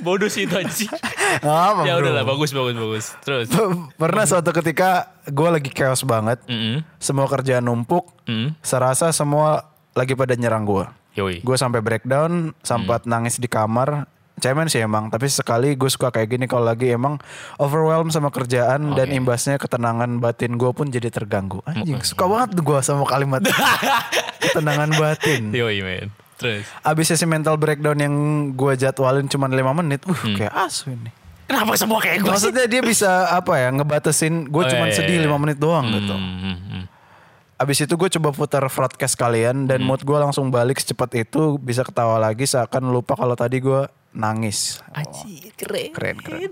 S1: Bodoh sih itu anjing.
S3: Gak apa,
S1: ya
S3: bro.
S1: udahlah bagus bagus bagus. Terus.
S3: Pernah suatu ketika gue lagi chaos banget.
S1: Mm-mm.
S3: Semua kerjaan numpuk.
S1: Hmm.
S3: Serasa semua lagi pada nyerang gue.
S1: Yoi.
S3: Gue sampai breakdown, sempat
S1: Hmm.
S3: nangis di kamar. Cemen sih emang, tapi sekali gue suka kayak gini kalau lagi emang overwhelmed sama kerjaan dan imbasnya ketenangan batin gue pun jadi terganggu. Anjing, suka banget gue sama kalimat ketenangan batin.
S1: Yoi men. Terus.
S3: Abis sesi mental breakdown yang gue jadwalin cuma 5 menit, uh kayak asu ini.
S1: Kenapa semua kayak gue Hmm. sih?
S3: Maksudnya dia bisa apa ya, ngebatesin gue
S1: Oh, iya,
S3: cuma
S1: iya,
S3: sedih
S1: iya.
S3: 5 menit doang gitu.
S1: Mm, mm.
S3: Abis itu gue coba putar broadcast kalian
S1: Hmm.
S3: dan mood gue langsung balik secepat itu bisa ketawa lagi seakan lupa kalau tadi gue nangis.
S1: Anjing keren.
S3: Keren keren.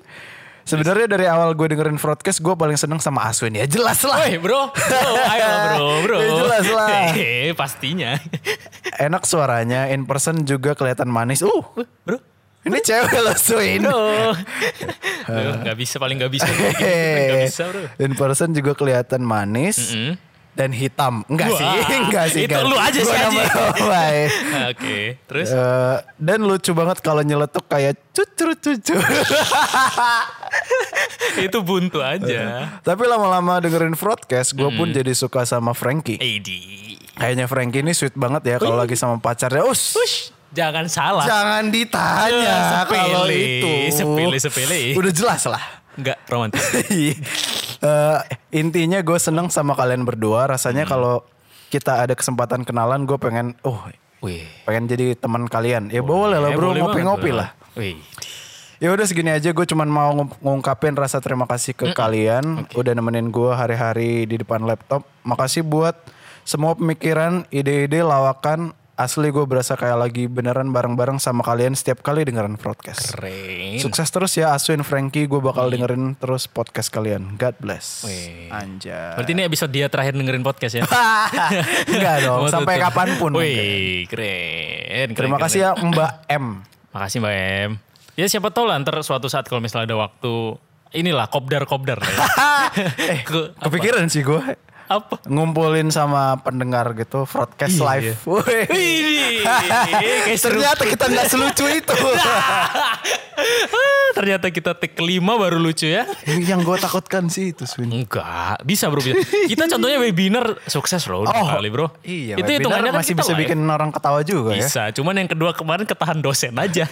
S3: Sebenarnya dari awal gue dengerin broadcast gue paling seneng sama Aswin ya jelas lah.
S1: Woi Eh, bro, bro, ayo bro, bro.
S3: Ya jelas lah.
S1: Eh, pastinya.
S3: Enak suaranya, in person juga kelihatan manis. Uh,
S1: Bro,
S3: ini cewek loh Swin.
S1: bro. Bro, Gak bisa, paling gak bisa. Gak
S3: Hehehe.
S1: bisa bro.
S3: in person juga kelihatan manis
S1: Mm.
S3: dan hitam. Enggak
S1: Wah,
S3: sih, enggak sih.
S1: itu
S3: enggak.
S1: lu aja sih,
S3: Gua
S1: anjing.
S3: nambah-nambahin.
S1: Nah, Oke, terus.
S3: Eh, dan lucu banget kalau nyeletuk kayak cucur cucur.
S1: itu buntu aja.
S3: Tapi lama-lama dengerin broadcast, gue pun jadi suka sama Frankie.
S1: Edi.
S3: Kayaknya Frankie ini sweet banget ya kalau lagi sama pacarnya. Us,
S1: Ush, jangan salah.
S3: jangan
S1: Ya,
S3: ditanya
S1: sepele,
S3: kalau itu.
S1: sepele, sepele.
S3: Udah jelas lah.
S1: Enggak romantis.
S3: Iya. Eh, intinya gue seneng sama kalian berdua. Rasanya kalau kita ada kesempatan kenalan, gue pengen, oh,
S1: Wih.
S3: pengen jadi teman kalian. Ya boleh, lah
S1: Eh,
S3: bro,
S1: boleh
S3: ngopi-ngopi
S1: banget,
S3: lah.
S1: bro. Wih.
S3: Ya udah segini aja gue cuman mau ngung- ngungkapin rasa terima kasih ke kalian udah nemenin gue hari-hari di depan laptop. Makasih buat semua pemikiran, ide-ide, lawakan. Asli gue berasa kayak lagi beneran bareng-bareng sama kalian setiap kali dengerin podcast.
S1: Keren.
S3: Sukses terus ya Aswin Frankie, gue bakal dengerin terus podcast kalian. God bless.
S1: Wih.
S3: Anjay.
S1: Berarti ini episode dia terakhir dengerin podcast ya.
S3: Enggak dong,
S1: Mau
S3: sampai
S1: tutup.
S3: kapanpun. mungkin.
S1: Wih, keren.
S3: Terima kasih ya Mbak M.
S1: Makasih Mbak Em. Ya siapa tahu lah ntar suatu saat kalau misalnya ada waktu inilah kopdar-kopdar. lah ya. Ke-
S3: Eh, Kepikiran sih gue.
S1: apa?
S3: ngumpulin sama pendengar gitu broadcast live. Woi.
S1: Iya, Wih, kayak seru. Iya.
S3: Ternyata kita nggak selucu itu.
S1: Ah, Ternyata kita take kelima baru lucu ya.
S3: Yang gue takutkan sih itu Swin.
S1: Enggak, bisa bro. bisa. Kita contohnya webinar sukses loh udah kali bro.
S3: Iya,
S1: itu
S3: webinar
S1: hitungannya kan
S3: masih
S1: kita
S3: bisa
S1: live.
S3: bikin orang ketawa juga ya.
S1: Bisa, cuman yang kedua kemarin ketahan dosen aja.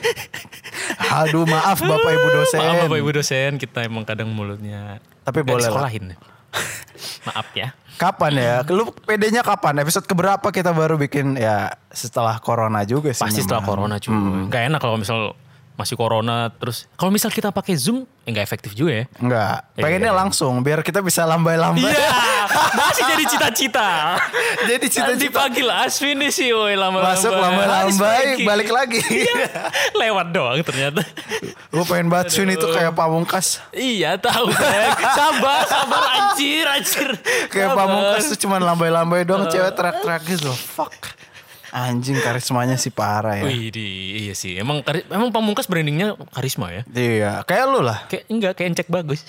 S1: Ah,
S3: Aduh maaf Bapak Ibu dosen.
S1: Maaf Bapak Ibu dosen, kita emang kadang mulutnya
S3: Tapi
S1: nggak
S3: boleh lah.
S1: disekolahin. Maaf ya.
S3: Kapan ya? Lu PD-nya kapan? Episode keberapa kita baru bikin ya setelah corona juga sih.
S1: Pasti setelah
S3: memang.
S1: corona cuy. Nggak enak kalau misal masih corona terus kalau misal kita pakai Zoom eh, nggak efektif juga ya.
S3: Enggak,
S1: Iya,
S3: pengennya
S1: iya.
S3: langsung biar kita bisa lambai-lambai.
S1: Iya, masih jadi cita-cita.
S3: Jadi
S1: Nanti
S3: cita-cita
S1: panggil Aswin nih sih, woi lama-lama.
S3: masuk
S1: Aswin
S3: lambai-lambai
S1: lagi.
S3: balik lagi.
S1: Iya. Lewat doang ternyata.
S3: Gue pengen banget Swin itu kayak pamungkas.
S1: iya tahu Bang. Sabar, sabar anjir, anjir.
S3: Kayak
S1: Sabar.
S3: pamungkas tuh cuman lambai-lambai doang cewek teriak-teriak gitu. Fuck. Anjing karismanya sih parah ya.
S1: Wih, di- iya sih. Emang kari- emang pamungkas brandingnya karisma ya.
S3: Iya, kayak lu lah.
S1: Kayak enggak kayak encek bagus.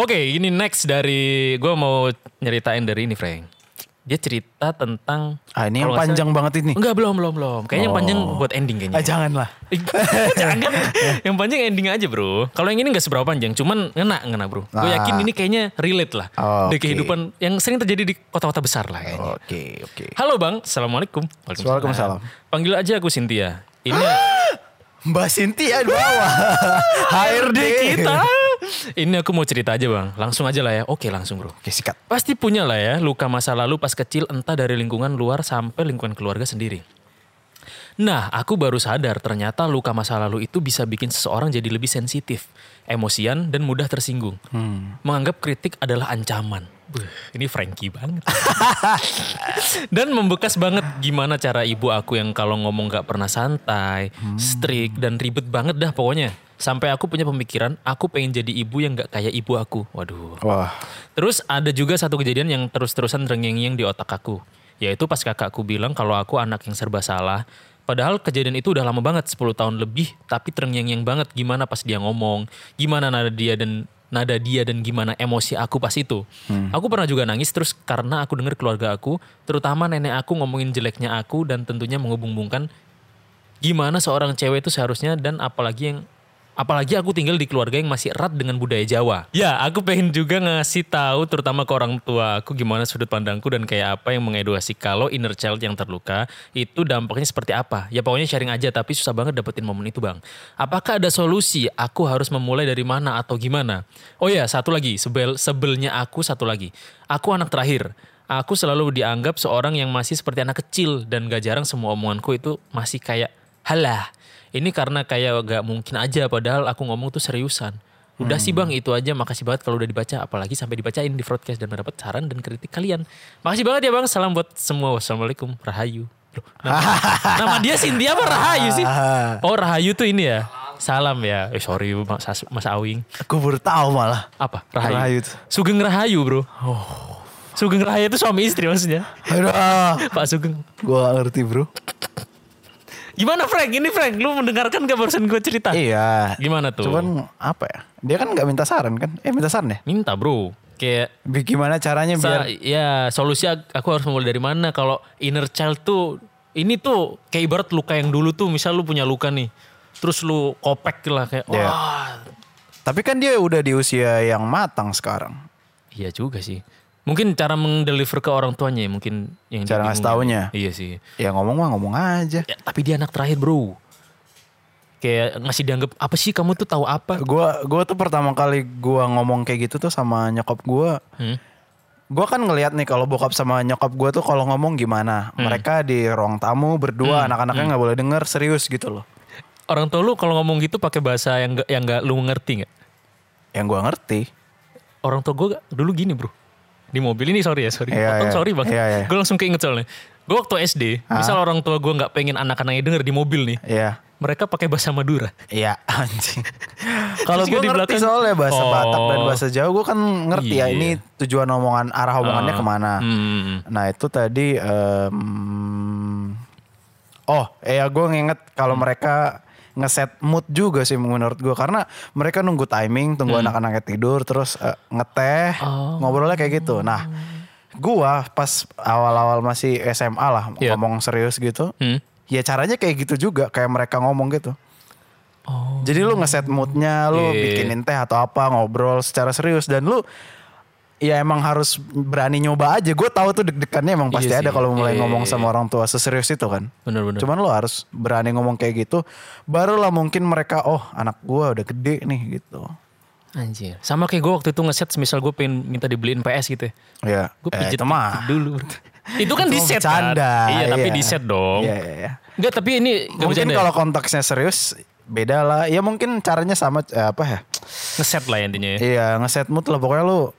S1: Oke, ini next dari gue mau nyeritain dari ini, Frank. Dia cerita tentang
S3: Ah, ini
S1: kalau
S3: yang
S1: nggak
S3: panjang banget ini.
S1: Enggak belum belum belum. Kayaknya yang panjang buat ending kayaknya.
S3: Ah, janganlah.
S1: Jangan. yang panjang ending aja bro. Kalau yang ini nggak seberapa panjang, cuman ngena ngena bro. Gue
S3: Ah.
S1: yakin ini kayaknya relate lah
S3: Oke.
S1: di kehidupan yang sering terjadi di kota-kota besar lah kayaknya.
S3: Oke, oke.
S1: Halo bang, assalamualaikum.
S3: Waalaikumsalam.
S1: Panggil aja aku Cynthia. Ini
S3: Mbak Sintia di bawah. HRD
S1: kita. Ini aku mau cerita aja bang. Langsung aja lah ya. Oke langsung bro.
S3: Oke, sikat.
S1: Pasti punya lah ya luka masa lalu pas kecil entah dari lingkungan luar sampai lingkungan keluarga sendiri. Nah, aku baru sadar ternyata luka masa lalu itu bisa bikin seseorang jadi lebih sensitif, emosian, dan mudah tersinggung. Menganggap kritik adalah ancaman. Buh, ini Frankie banget. dan membekas banget gimana cara ibu aku yang kalau ngomong gak pernah santai, strict, dan ribet banget dah pokoknya. Sampai aku punya pemikiran, aku pengen jadi ibu yang gak kayak ibu aku. Waduh.
S3: Wah.
S1: Terus ada juga satu kejadian yang terus-terusan terngiang-ngiang di otak aku. Yaitu pas kakakku bilang kalau aku anak yang serba salah. Padahal kejadian itu udah lama banget, 10 tahun lebih. Tapi terngiang-ngiang banget gimana pas dia ngomong. Gimana nada dia dan nada dia dan gimana emosi aku pas itu. Aku pernah juga nangis terus karena aku dengar keluarga aku, terutama nenek aku ngomongin jeleknya aku dan tentunya menghubung-hubungkan gimana seorang cewek itu seharusnya dan apalagi yang apalagi aku tinggal di keluarga yang masih erat dengan budaya Jawa. Ya, aku pengen juga ngasih tahu terutama ke orang tua aku gimana sudut pandangku dan kayak apa yang mengedukasi kalau inner child yang terluka itu dampaknya seperti apa. Ya pokoknya sharing aja tapi susah banget dapetin momen itu, Bang. Apakah ada solusi? Aku harus memulai dari mana atau gimana? Oh ya, satu lagi, sebel sebelnya aku satu lagi. Aku anak terakhir. Aku selalu dianggap seorang yang masih seperti anak kecil dan gak jarang semua omonganku itu masih kayak halah. Ini karena kayak gak mungkin aja padahal aku ngomong tuh seriusan. Udah sih bang itu aja makasih banget kalau udah dibaca apalagi sampai dibacain di broadcast dan mendapat saran dan kritik kalian. Makasih banget ya bang salam buat semua wassalamualaikum Rahayu. Loh, nama, nama dia Cynthia apa Rahayu sih? Oh Rahayu tuh ini ya. Salam ya. Eh sorry Mas, Mas Awing.
S3: Aku baru tahu malah.
S1: Apa? Rahayu.
S3: Rahayu Oh. tuh.
S1: Sugeng Rahayu bro. Sugeng Rahayu itu suami istri maksudnya.
S3: Aduh,
S1: Pak Sugeng.
S3: gua gak ngerti, Bro.
S1: Gimana Frank? Ini Frank, lu mendengarkan gak barusan gue cerita?
S3: Iya.
S1: Gimana tuh?
S3: Cuman apa ya? Dia kan nggak minta saran kan? Eh, minta saran ya?
S1: Minta bro. Kayak
S3: Bi- Gimana caranya
S1: sa-
S3: biar
S1: ya solusi ak- aku harus mulai dari mana kalau inner child tuh ini tuh kayak ibarat luka yang dulu tuh misal lu punya luka nih terus lu kopek lah kayak
S3: Iya.
S1: wah
S3: Tapi kan dia udah di usia yang matang sekarang.
S1: iya juga sih mungkin cara mendeliver ke orang tuanya ya mungkin yang
S3: Cara
S1: dia
S3: ngasih
S1: bingung
S3: taunya.
S1: ya. iya sih
S3: Ya ngomong mah ngomong aja.
S1: Ya, tapi dia anak terakhir bro kayak ngasih dianggap apa sih kamu tuh tahu apa
S3: Gua gua tuh pertama kali gua ngomong kayak gitu tuh sama nyokap gua.
S1: Hmm.
S3: Gua kan ngelihat nih kalau bokap sama nyokap gua tuh kalau ngomong gimana. Mereka di ruang tamu berdua anak-anaknya nggak boleh denger serius gitu loh.
S1: orang tua lu kalau ngomong gitu pakai bahasa yang gak, yang gak lu ngerti nggak
S3: Yang gua ngerti.
S1: orang tua gue dulu gini bro di mobil ini sorry ya sorry
S3: Iya,
S1: Potong,
S3: iya.
S1: sorry banget
S3: Iya, Ah. iya.
S1: gue langsung keinget soalnya gue waktu SD misal orang tua gue nggak pengen anak-anaknya denger di mobil nih
S3: Iya.
S1: mereka pakai bahasa Madura
S3: Iya anjing. Kalau
S1: Terus
S3: gue
S1: gua di
S3: ngerti
S1: belakang-
S3: soalnya bahasa
S1: Oh.
S3: Batak dan bahasa Jawa gue kan ngerti ya
S1: Iya. Ah.
S3: ini tujuan omongan arah omongannya kemana.
S1: hmm.
S3: Nah itu tadi. em, oh ya gue nginget kalau
S1: Hmm.
S3: mereka ngeset mood juga sih menurut gue karena mereka nunggu timing tunggu
S1: Hmm.
S3: anak-anaknya tidur terus eh, ngeteh
S1: Oh.
S3: ngobrolnya kayak gitu. Nah gua pas awal-awal masih SMA lah
S1: Iya.
S3: ngomong serius gitu.
S1: Hmm.
S3: Ya caranya kayak gitu juga kayak mereka ngomong gitu. Jadi lu ngeset moodnya, lu
S1: Oh. Iya.
S3: bikinin teh atau apa, ngobrol secara serius dan lu ya emang harus berani nyoba aja. Gue tahu tuh deg-degannya emang pasti
S1: Iya
S3: ada
S1: sih.
S3: kalau mulai
S1: Iya,
S3: ngomong
S1: iya,
S3: sama orang tua seserius itu kan.
S1: bener-bener
S3: Cuman lu harus berani ngomong kayak gitu, barulah mungkin mereka oh anak gua udah gede nih gitu.
S1: anjir sama kayak gue waktu itu ngeset misal gue pengen minta dibeliin PS gitu ya
S3: Ya,
S1: gue
S3: eh,
S1: pijet
S3: itu
S1: dikit
S3: mah.
S1: dulu itu kan
S3: Itu
S1: di
S3: mah
S1: set kan
S3: bercanda,
S1: iya tapi
S3: iya.
S1: di set dong
S3: Iya, iya, iya.
S1: Enggak tapi ini nggak
S3: Mungkin
S1: bercanda ya.
S3: kalau konteksnya serius beda lah. Ya mungkin caranya sama eh, apa ya?
S1: ngeset lah intinya ya
S3: Iya, ngeset mood lah pokoknya lu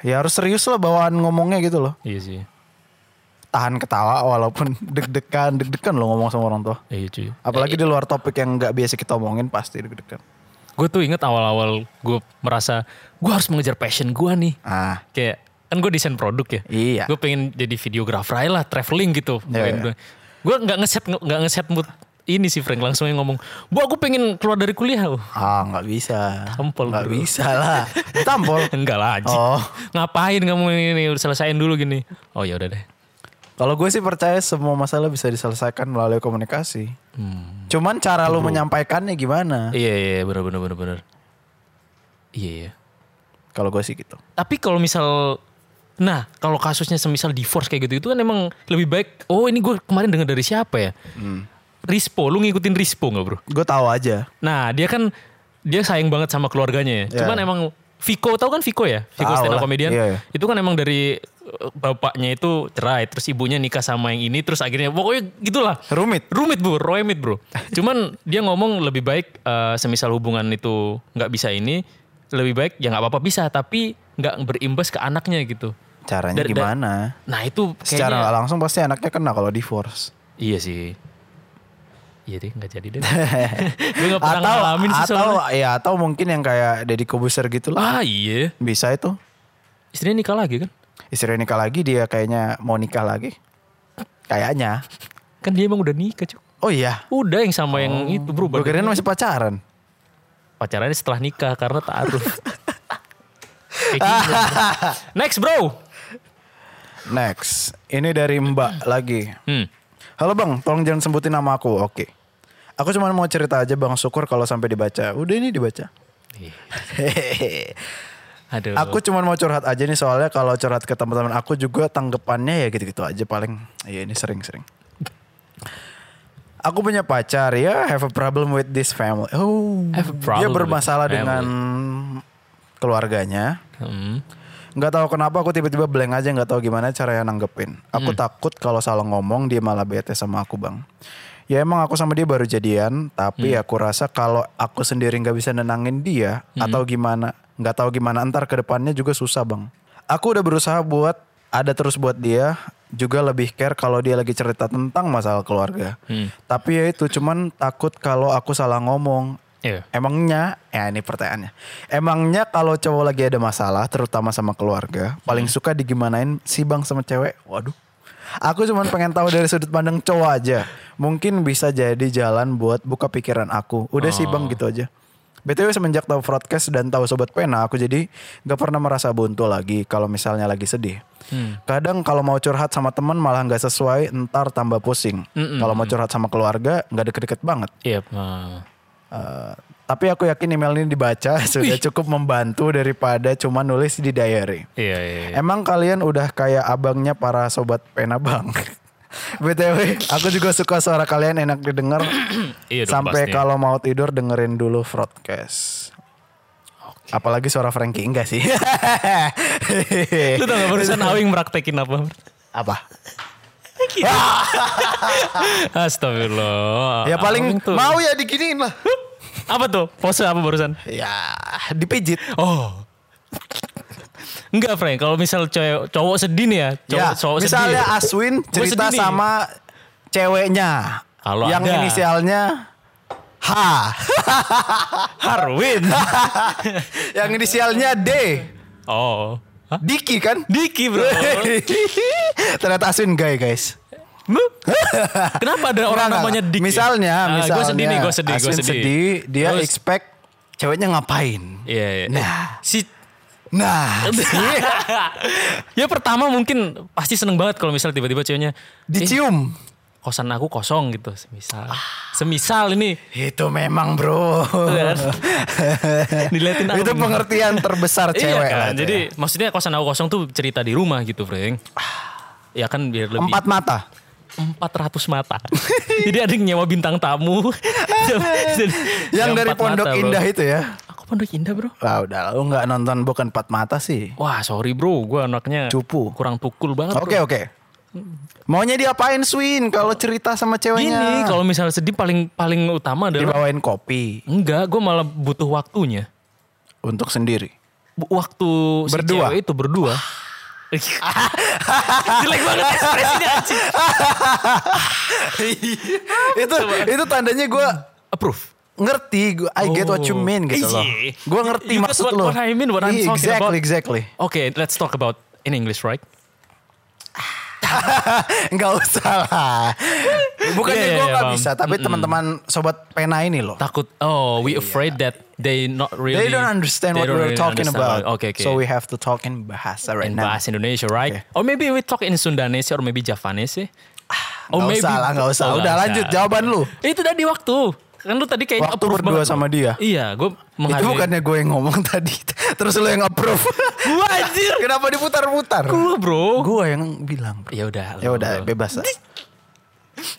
S3: ya harus serius lah bawaan ngomongnya gitu loh.
S1: iya sih
S3: Tahan ketawa walaupun deg-degan, deg-degan lo ngomong sama orang tua.
S1: iya cuy
S3: Apalagi di luar topik yang nggak biasa kita omongin pasti deg-degan.
S1: gue tuh inget awal-awal gue merasa gue harus mengejar passion gue nih
S3: Ah,
S1: kayak kan gue desain produk ya
S3: Iya.
S1: gue pengen jadi videografer aja lah traveling gitu
S3: Iya,
S1: gue nggak ngeset nggak ngeset mood ini sih Frank langsung yang ngomong, bu aku pengen keluar dari kuliah. Oh. Bu."
S3: Ah nggak bisa.
S1: Tampol,
S3: Nggak
S1: bro.
S3: bisa lah. Tampol.
S1: Enggak lah anjing.
S3: Oh.
S1: Ngapain kamu ini, ini udah selesain dulu gini. Oh ya udah deh.
S3: Kalau gue sih percaya semua masalah bisa diselesaikan melalui komunikasi. Cuman cara lu menyampaikannya gimana?
S1: Hmm. Iya iya benar benar benar benar. Iya iya.
S3: Kalau gue sih gitu.
S1: Tapi kalau misal Nah, kalau kasusnya semisal divorce kayak gitu itu kan emang lebih baik. Oh, ini gue kemarin dengar dari siapa ya?
S3: Hmm.
S1: Rispo, lu ngikutin Rispo nggak bro?
S3: Gue tahu aja.
S1: Nah, dia kan dia sayang banget sama keluarganya ya.
S3: Ya.
S1: Cuman emang Viko tahu kan Viko ya? Viko
S3: Tahu
S1: stand up
S3: lah,
S1: comedian.
S3: iya, iya.
S1: Itu kan emang dari eh, bapaknya itu cerai, terus ibunya nikah sama yang ini, terus akhirnya pokoknya gitulah.
S3: Rumit.
S1: Rumit bu, rumit bro. Cuman dia ngomong lebih baik eh, semisal hubungan itu nggak bisa ini, lebih baik ya nggak apa-apa bisa, tapi nggak berimbas ke anaknya gitu.
S3: Caranya
S1: Dari-
S3: gimana?
S1: Nah itu
S3: Secara
S1: kayaknya
S3: nggak langsung pasti anaknya kena kalau divorce.
S1: iya sih. Iya deh nggak jadi deh. Gue nggak pernah
S3: Atau
S1: ngalamin sih
S3: atau
S1: soalnya.
S3: ya atau mungkin yang kayak Deddy Kobuser gitu lah.
S1: Ah iya,
S3: Bisa itu.
S1: istrinya nikah lagi kan?
S3: Istrinya nikah lagi dia kayaknya mau nikah lagi. Kayaknya.
S1: Kan dia emang udah nikah cuk.
S3: Oh iya.
S1: Udah yang sama yang itu berubah.
S3: Gue kirain masih pacaran.
S1: Pacarannya setelah nikah karena taruh. gitu, Next bro.
S3: Next. Ini dari Mbak lagi.
S1: Hmm.
S3: Halo bang, tolong jangan sebutin nama aku. Oke. Aku cuma mau cerita aja bang, syukur kalau sampai dibaca. Udah ini dibaca.
S1: Ih, Iya. Aduh.
S3: aku cuma mau curhat aja nih soalnya kalau curhat ke teman-teman aku juga tanggapannya ya gitu-gitu aja paling. Iya ini sering-sering. Aku punya pacar ya, have a problem with this family. Oh,
S1: Have a
S3: dia
S1: problem with
S3: bermasalah
S1: family.
S3: dengan keluarganya.
S1: Hmm.
S3: Nggak tahu kenapa aku tiba-tiba blank aja nggak tahu gimana caranya nanggepin. Aku takut kalau salah ngomong dia malah bete sama aku bang. Ya emang aku sama dia baru jadian, tapi aku rasa kalau aku sendiri nggak bisa nenangin dia atau gimana, nggak tahu gimana ntar ke depannya juga susah bang. Aku udah berusaha buat ada terus buat dia, juga lebih care kalau dia lagi cerita tentang masalah keluarga. Tapi ya itu cuman takut kalau aku salah ngomong
S1: Iya.
S3: Emangnya, ya ini pertanyaannya. Emangnya kalau cowok lagi ada masalah, terutama sama keluarga, paling suka digimanain si bang sama cewek? Waduh. Aku cuma pengen tahu dari sudut pandang cowok aja. Mungkin bisa jadi jalan buat buka pikiran aku. Udah sih bang gitu aja. BTW semenjak tahu broadcast dan tahu sobat pena, aku jadi gak pernah merasa buntu lagi kalau misalnya lagi sedih. Kadang kalau mau curhat sama teman malah nggak sesuai, entar tambah pusing. Kalau mau curhat sama keluarga nggak deket-deket banget.
S1: Iya. ah.
S3: Uh, tapi aku yakin email ini dibaca sudah cukup membantu daripada cuma nulis di diary.
S1: Iya. iya, iya.
S3: Emang kalian udah kayak abangnya para sobat pena bang. BTW, aku juga suka suara kalian enak didengar.
S1: Iya dong, pasti.
S3: Sampai kalau mau tidur dengerin dulu broadcast. Apalagi suara Frankie enggak sih?
S1: Lu tau gak barusan Awing praktekin apa?
S3: Apa? Ah,
S1: Astagfirullah.
S3: Ya paling
S1: Awing tuh.
S3: mau ya diginiin lah.
S1: Apa tuh? Pose apa barusan?
S3: ya, dipijit.
S1: Oh. Enggak Frank, kalau misal cowok, cowok sedih nih ya, cowok,
S3: Ya,
S1: cowok
S3: misalnya
S1: sedih.
S3: Aswin
S1: Gua
S3: cerita
S1: sedih nih.
S3: sama ceweknya
S1: Kalau
S3: yang
S1: ada.
S3: inisialnya H,
S1: Harwin.
S3: yang inisialnya D,
S1: oh. Hah?
S3: Diki kan?
S1: Diki bro.
S3: Ternyata Aswin gay guys.
S1: Lu? Kenapa ada orang
S3: Enggak,
S1: namanya
S3: enggak.
S1: Diki?
S3: Misalnya, misalnya
S1: gue sedih nih, gue sedih, gue
S3: Aswin
S1: sedih.
S3: dia
S1: Terus-
S3: expect ceweknya ngapain?
S1: Iya, iya.
S3: Nah.
S1: Si
S3: Nah,
S1: Iya. ya pertama mungkin pasti seneng banget kalau misal tiba-tiba ceweknya "Eh,
S3: dicium.
S1: kosan aku kosong gitu semisal semisal ini
S3: Itu memang bro.
S1: Bener. Iya. Diliatin
S3: Itu
S1: Arwin.
S3: pengertian terbesar cewek.
S1: iya kan
S3: lah itu
S1: jadi
S3: ya.
S1: maksudnya kosan aku kosong tuh cerita di rumah gitu Frank ya kan biar lebih
S3: empat mata.
S1: 400 mata jadi ada yang nyewa bintang tamu Jadi,
S3: Yang dari
S1: empat
S3: Pondok
S1: mata, bro.
S3: Indah itu ya.
S1: aku Pondok Indah bro
S3: Wah udah lu nggak nonton bukan empat mata sih.
S1: wah sorry bro gue anaknya
S3: Cupu.
S1: kurang tukul banget
S3: Oke oke. Maunya diapain Swin kalau cerita sama
S1: bro.
S3: ceweknya?
S1: gini kalau misalnya sedih paling paling utama adalah
S3: dibawain kopi
S1: Enggak, gue malah butuh waktunya.
S3: untuk sendiri.
S1: Bu- Waktu
S3: Berdua.
S1: si cewek itu berdua. Jelek banget ekspresinya anjing.
S3: itu itu tandanya gue
S1: Approve.
S3: ngerti. Gua, I get what you mean gitu loh.
S1: Iya.
S3: Gue ngerti
S1: You got
S3: maksud
S1: what-
S3: lo.
S1: what I mean, what I'm
S3: Iya,
S1: talking
S3: exactly,
S1: about.
S3: Exactly,
S1: Oke, let's talk about in English, right?
S3: Nggak usah lah. Bukannya
S1: Iya, iya,
S3: gue nggak
S1: paham.
S3: bisa, tapi teman-teman sobat pena ini loh.
S1: Takut. Oh, we afraid that they not really.
S3: Iya. They don't understand
S1: they
S3: what
S1: don't
S3: we're
S1: really
S3: talking
S1: understand.
S3: about.
S1: Oke, oke.
S3: So we Nah. have to talk in bahasa right
S1: in
S3: now.
S1: bahasa Indonesia, right? Or maybe we talk in Sundanese or maybe Javanese.
S3: Nggak usah lah, Oh, nggak usah. Udah lanjut jawaban lu.
S1: Itu tadi waktu. Kan lu tadi kayaknya
S3: Waktu
S1: approve
S3: berdua
S1: banget.
S3: sama dia?
S1: Iya, gue menghargai.
S3: Itu bukannya gue yang ngomong tadi. Terus lu yang approve.
S1: Gua, anjir.
S3: Kenapa diputar-putar?
S1: Lu, bro.
S3: Gue yang bilang. bro.
S1: Ya udah. lu,
S3: Ya
S1: bro.
S3: udah bebas. lah.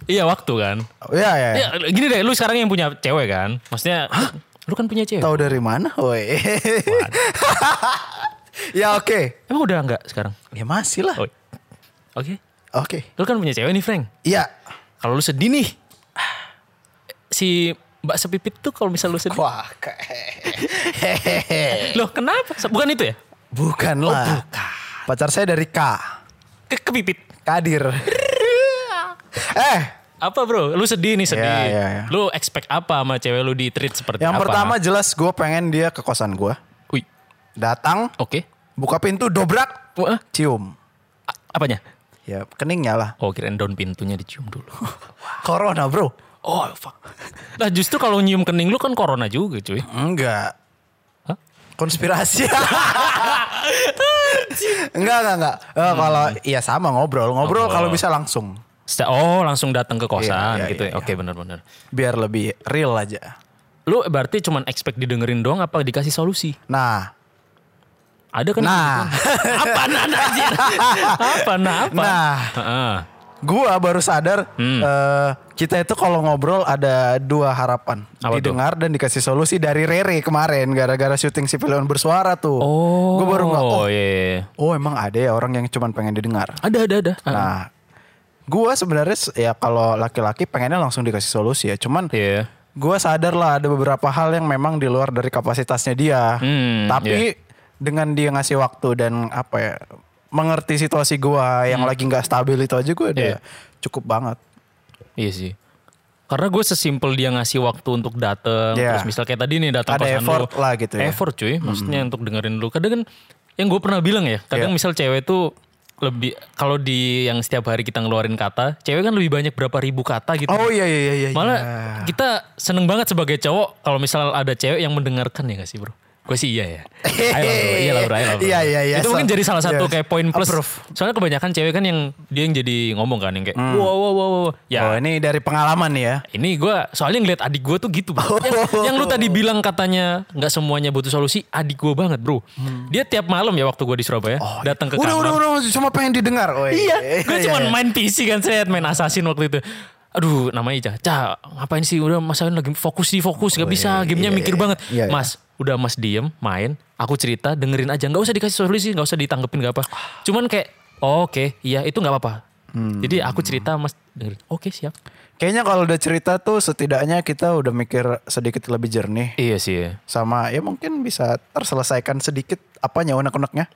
S1: Iya, waktu kan.
S3: Ya ya. ya.
S1: Ya, gini deh, lu sekarang yang punya cewek kan? Maksudnya lu kan punya cewek.
S3: Tahu dari mana? Woi. ya oke.
S1: Emang udah enggak sekarang?
S3: Ya masih lah.
S1: Oh.
S3: Oke.
S1: Oke. Lu kan punya cewek nih, Frank.
S3: Iya.
S1: Kalau lu sedih nih. Si Mbak Sepipit tuh kalau misal lu sedih.
S3: Wah. ke-
S1: Loh, kenapa? Bukan itu ya?
S3: Oh, bukan lah. Pacar saya dari K.
S1: Ke kepipit.
S3: Kadir. eh,
S1: Apa bro? Lu sedih nih sedih.
S3: Ya, ya, ya.
S1: Lu expect apa sama cewek lu di treat seperti
S3: yang
S1: apa?
S3: pertama jelas gue pengen dia ke kosan gue.
S1: Wih,
S3: Datang,
S1: oke.
S3: buka pintu, dobrak,
S1: Wah,
S3: cium.
S1: a- apanya?
S3: Ya keningnya lah.
S1: Oh kirain daun pintunya dicium dulu.
S3: Corona bro.
S1: oh fuck. Nah justru kalau nyium kening lu kan corona juga cuy.
S3: Enggak.
S1: Hah?
S3: Konspirasi. enggak, enggak, enggak. Eh, Kalau iya sama ngobrol. Ngobrol
S1: Hmm. Ngobrol.
S3: kalau bisa langsung.
S1: Seta- Oh langsung datang ke kosan
S3: Iya, iya,
S1: gitu ya.
S3: iya,
S1: Oke benar-benar.
S3: Biar lebih real aja.
S1: Lu berarti cuman expect didengerin doang apa dikasih solusi?
S3: Nah,
S1: Ada kan?
S3: Nah.
S1: apa nah nah, anjir? apa nah apa? Hmm.
S3: Nah.
S1: Heeh.
S3: gua baru sadar eh, kita itu kalau ngobrol ada dua harapan.
S1: Apa tuh?
S3: Didengar dan dikasih solusi dari Rere kemarin gara-gara syuting si Pilihan bersuara tuh.
S1: Oh.
S3: Gua baru nggak oh,
S1: Oh iya, iya.
S3: oh emang ada ya orang yang cuman pengen didengar.
S1: Ada ada ada. Heeh.
S3: Nah, gua sebenarnya s- ya kalau laki-laki pengennya langsung dikasih solusi ya. Cuman
S1: Iya.
S3: Gue sadar lah ada beberapa hal yang memang di luar dari kapasitasnya dia.
S1: Hmm,
S3: Tapi dengan dia ngasih waktu dan apa ya mengerti situasi gue yang
S1: Hmm.
S3: lagi nggak stabil itu aja gue udah cukup banget.
S1: Iya sih. Karena gue sesimpel dia ngasih waktu untuk dateng.
S3: Iya.
S1: Terus misal kayak tadi nih datang
S3: Ada
S1: kosan
S3: effort
S1: lu.
S3: lah gitu ya.
S1: Effort cuy. Maksudnya untuk dengerin lu. Kadang kan yang gue pernah bilang ya.
S3: Iya.
S1: Kadang misal cewek tuh lebih. Kalau di yang setiap hari kita ngeluarin kata. Cewek kan lebih banyak berapa ribu kata gitu.
S3: Oh iya iya iya iya.
S1: Malah
S3: iya.
S1: kita seneng banget sebagai cowok. Kalau misal ada cewek yang mendengarkan ya gak sih bro? Gue sih iya ya. Ayo lah bro. Iya lah bro. ayo lah, bro.
S3: Iya, iya, iya.
S1: Itu mungkin
S3: So-
S1: jadi salah satu
S3: yes.
S1: kayak poin plus.
S3: Approve.
S1: Soalnya kebanyakan cewek kan yang. Dia yang jadi ngomong kan. Yang kayak wow wow wow wow. Ya
S3: Hmm. Oh ini dari pengalaman nih ya.
S1: ini gue soalnya ngeliat adik gue tuh gitu bro. Yang,
S3: Oh.
S1: yang lu tadi bilang katanya nggak semuanya butuh solusi, adik gue banget bro. Dia tiap malam ya waktu gue di Surabaya datang ke
S3: Hmm. Oh, iya.
S1: kamar.
S3: udah, udah udah udah cuma pengen didengar. Oh,
S1: Iya, gue
S3: iya,
S1: cuma
S3: iya.
S1: main PC kan, saya main Assassin waktu itu. Aduh, namanya Ica. Cah, ngapain sih? Udah masain lagi fokus sih, fokus. Gak bisa, gamenya mikir banget.
S3: Oh, Iya, iya.
S1: Mas, udah mas diem, main. Aku cerita, dengerin aja. Gak usah dikasih solusi, gak usah ditanggepin, gak apa. Cuman kayak, oh, oke, iya itu gak apa-apa.
S3: Hmm.
S1: Jadi aku cerita, mas dengerin. Oke, siap.
S3: Kayaknya kalau udah cerita tuh setidaknya kita udah mikir sedikit lebih jernih
S1: Iya sih, iya.
S3: sama ya mungkin bisa terselesaikan sedikit apanya unek-uneknya.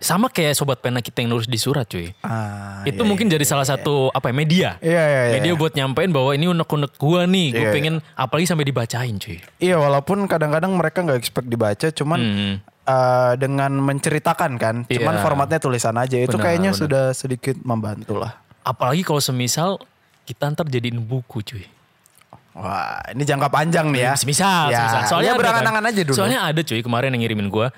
S1: sama kayak sobat pena kita yang nulis di surat cuy.
S3: Ah,
S1: itu mungkin jadi salah satu apa ya media.
S3: Iya, iya, iya.
S1: Media buat nyampein bahwa ini unek-unek gua nih, gue
S3: Iya,
S1: pengen apalagi sampai dibacain cuy.
S3: Iya walaupun kadang-kadang mereka nggak expect dibaca, cuman eh, dengan menceritakan kan, cuman
S1: Hmm. Iya.
S3: formatnya tulisan aja itu
S1: Benar,
S3: kayaknya
S1: benar.
S3: sudah sedikit membantu lah.
S1: Apalagi kalau semisal kita ntar jadiin buku cuy.
S3: Wah ini jangka panjang nih
S1: Ah,
S3: ya.
S1: Semisal,
S3: Ya,
S1: semisal. Soalnya
S3: ya
S1: ada,
S3: berangan-angan
S1: kan?
S3: aja dulu. Hmm?
S1: Soalnya ada cuy kemarin yang ngirimin gua.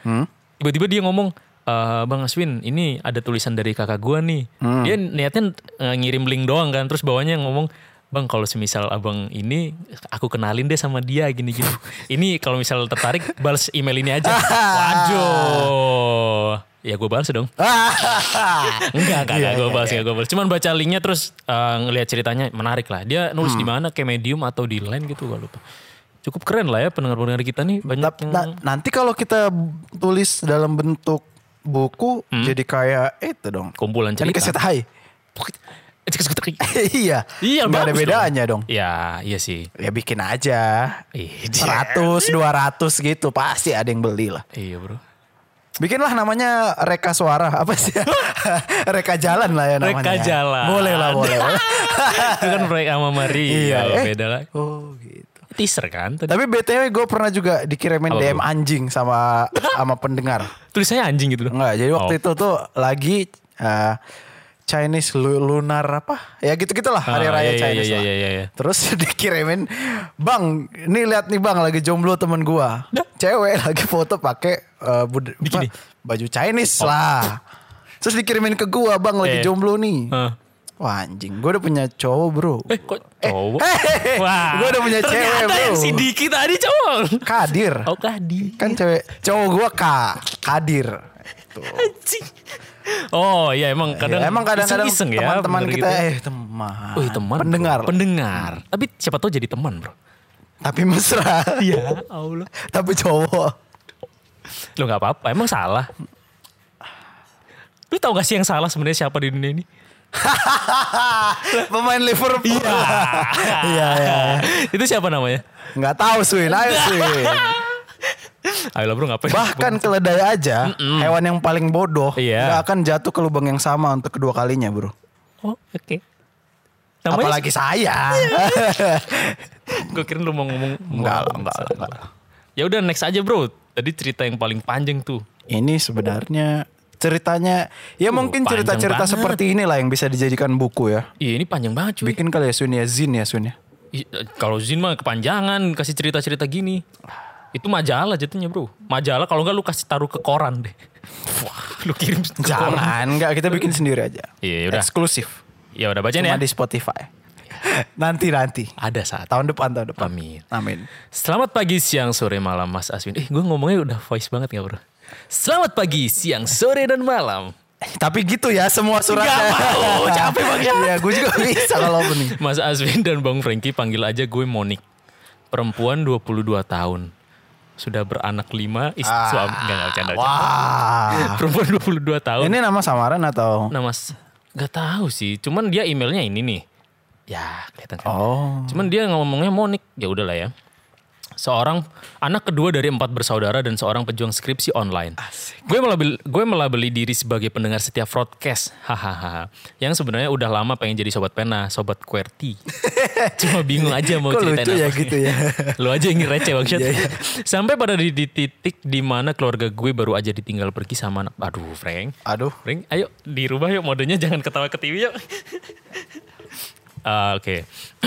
S1: Tiba-tiba dia ngomong, "Eh, Bang Aswin, ini ada tulisan dari kakak gua nih.
S3: Hmm.
S1: Dia niatnya eh, ngirim link doang kan, terus bawahnya ngomong, Bang kalau semisal abang ini aku kenalin deh sama dia gini-gini. ini kalau misal tertarik balas email ini aja. Waduh. Ya gue balas dong. Enggak,
S3: Iya,
S1: enggak, enggak, gue bahas, enggak, gue bahas. Cuman baca linknya terus eh, ngelihat ceritanya menarik lah. Dia
S3: Hmm.
S1: nulis di mana, kayak medium atau di line gitu, gak lupa. Cukup keren lah ya pendengar-pendengar kita nih banyak
S3: Tap-
S1: yang...
S3: na- nanti kalau kita b- tulis dalam bentuk buku jadi kayak itu dong.
S1: Kumpulan
S3: Jadi
S1: Hmm. cerita. Eh,
S3: keset hai. iya.
S1: Iya,
S3: Nggak ada
S1: bagus
S3: bedanya dong.
S1: ya, iya sih.
S3: Ya bikin aja.
S1: Ih, dia-
S3: 100, 200 gitu pasti ada yang beli lah.
S1: Iya bro.
S3: Bikinlah namanya reka suara apa sih? reka jalan lah ya namanya.
S1: Reka jalan.
S3: Boleh lah, boleh.
S1: Itu kan proyek sama Maria,
S3: Iya, eh.
S1: beda lah.
S3: oh gitu.
S1: Teaser kan tadi.
S3: Tapi BTW gue pernah juga dikirimin
S1: Apa
S3: DM
S1: tuh?
S3: anjing sama sama pendengar.
S1: Tulisannya anjing gitu.
S3: Enggak, jadi waktu itu tuh lagi eh, Chinese lu- lunar apa? Ya gitu-gitulah hari
S1: Ah, iya,
S3: raya
S1: iya,
S3: Chinese.
S1: iya,
S3: lah.
S1: iya, iya, iya.
S3: Terus dikirimin, "Bang, nih lihat nih Bang lagi jomblo temen gua. Cewek lagi foto pakai eh, bud-
S1: Bikini.
S3: apa, baju Chinese lah." Terus dikirimin ke gua, "Bang,
S1: Oh. Eh.
S3: lagi jomblo nih."
S1: Hah.
S3: Wah, anjing, gua udah punya cowok, Bro.
S1: Eh kok cowok?
S3: Hehehe,
S1: Wah.
S3: eh, gua udah punya
S1: ternyata
S3: cewek, Bro.
S1: yang si Diki tadi cowok.
S3: Kadir.
S1: Oh Kadir.
S3: Kan cewek cowok gua Kak Kadir. Tuh.
S1: Anjing. Oh iya emang kadang
S3: Ya, emang kadang-kadang
S1: iseng-iseng ya,
S3: teman-teman
S1: bener
S3: kita
S1: gitu.
S3: eh teman.
S1: Wih teman. bro.
S3: Pendengar.
S1: Pendengar. Tapi siapa tahu jadi teman bro.
S3: tapi mesra.
S1: Iya Allah.
S3: tapi cowok.
S1: Lo gak apa-apa emang salah. Lu tau gak sih yang salah sebenarnya siapa di dunia ini?
S3: Pemain Liverpool. Iya. Iya, iya.
S1: Itu siapa namanya?
S3: Enggak tahu Swin, ayo Swin.
S1: Ayolah bro ngapain?
S3: Bahkan keledai aja, hewan yang paling bodoh
S1: Iya.
S3: nggak akan jatuh ke lubang yang sama untuk kedua kalinya, Bro.
S1: Oh oke. Namanya
S3: Apalagi saya.
S1: Gue kira lu mau ngomong.
S3: Enggak lah, enggak lah, enggak lah.
S1: Ya udah next aja bro. Tadi cerita yang paling panjang tuh.
S3: Ini sebenarnya ceritanya ya
S1: Uh,
S3: mungkin
S1: panjang
S3: cerita-cerita
S1: banget.
S3: seperti inilah yang bisa dijadikan buku ya.
S1: Iya ini panjang banget cuy.
S3: Bikin kali ya Swin ya Zin ya Swin ya.
S1: Ih, eh, Kalau Zin mah kepanjangan kasih cerita-cerita gini. Itu majalah jatuhnya bro. Majalah kalau nggak lu kasih taruh ke koran deh. Wah, lu kirim ke koran.
S3: Jangan, enggak kita bikin sendiri aja.
S1: Iya, yaudah.
S3: Eksklusif.
S1: Ya udah bacain ya.
S3: Cuma di Spotify. Nanti nanti.
S1: Ada saat.
S3: Tahun depan tahun depan.
S1: Amin.
S3: Amin.
S1: Selamat pagi, siang, sore, malam Mas Aswin. Eh gue ngomongnya udah voice banget gak bro? Selamat pagi, siang, sore, dan malam.
S3: Tapi gitu ya semua suratnya.
S1: Nggak mau, capek banget.
S3: Iya, gue juga bisa kalau bening.
S1: Mas Aswin dan Bang Franky panggil aja gue Monik. Perempuan 22 tahun. Sudah beranak lima, istri suami. Enggak, enggak, bercanda, bercanda. Ah.
S3: Wah.
S1: Perempuan 22 tahun.
S3: Ini nama samaran atau?
S1: Nah mas, gak tahu sih. Cuman dia emailnya ini nih. Ya kelihatan kan.
S3: Oh.
S1: Cuman dia ngomongnya Monik. Ya udahlah ya. Seorang anak kedua dari empat bersaudara dan seorang pejuang skripsi online. Gue melabeli, gue melabeli diri sebagai pendengar setiap broadcast. Hahaha. Yang sebenarnya udah lama pengen jadi sobat pena, sobat QWERTY. Cuma bingung aja mau
S3: Kok
S1: ceritain
S3: lucu ya
S1: apa.
S3: gitu ya? Iya,
S1: Lu aja yang receh bang Syat. Sampai pada di, di titik dimana keluarga gue baru aja ditinggal pergi sama anak. Aduh Frank.
S3: Aduh.
S1: Ring, ayo di rumah yuk modenya jangan ketawa ke TV yuk. Ah, Oke,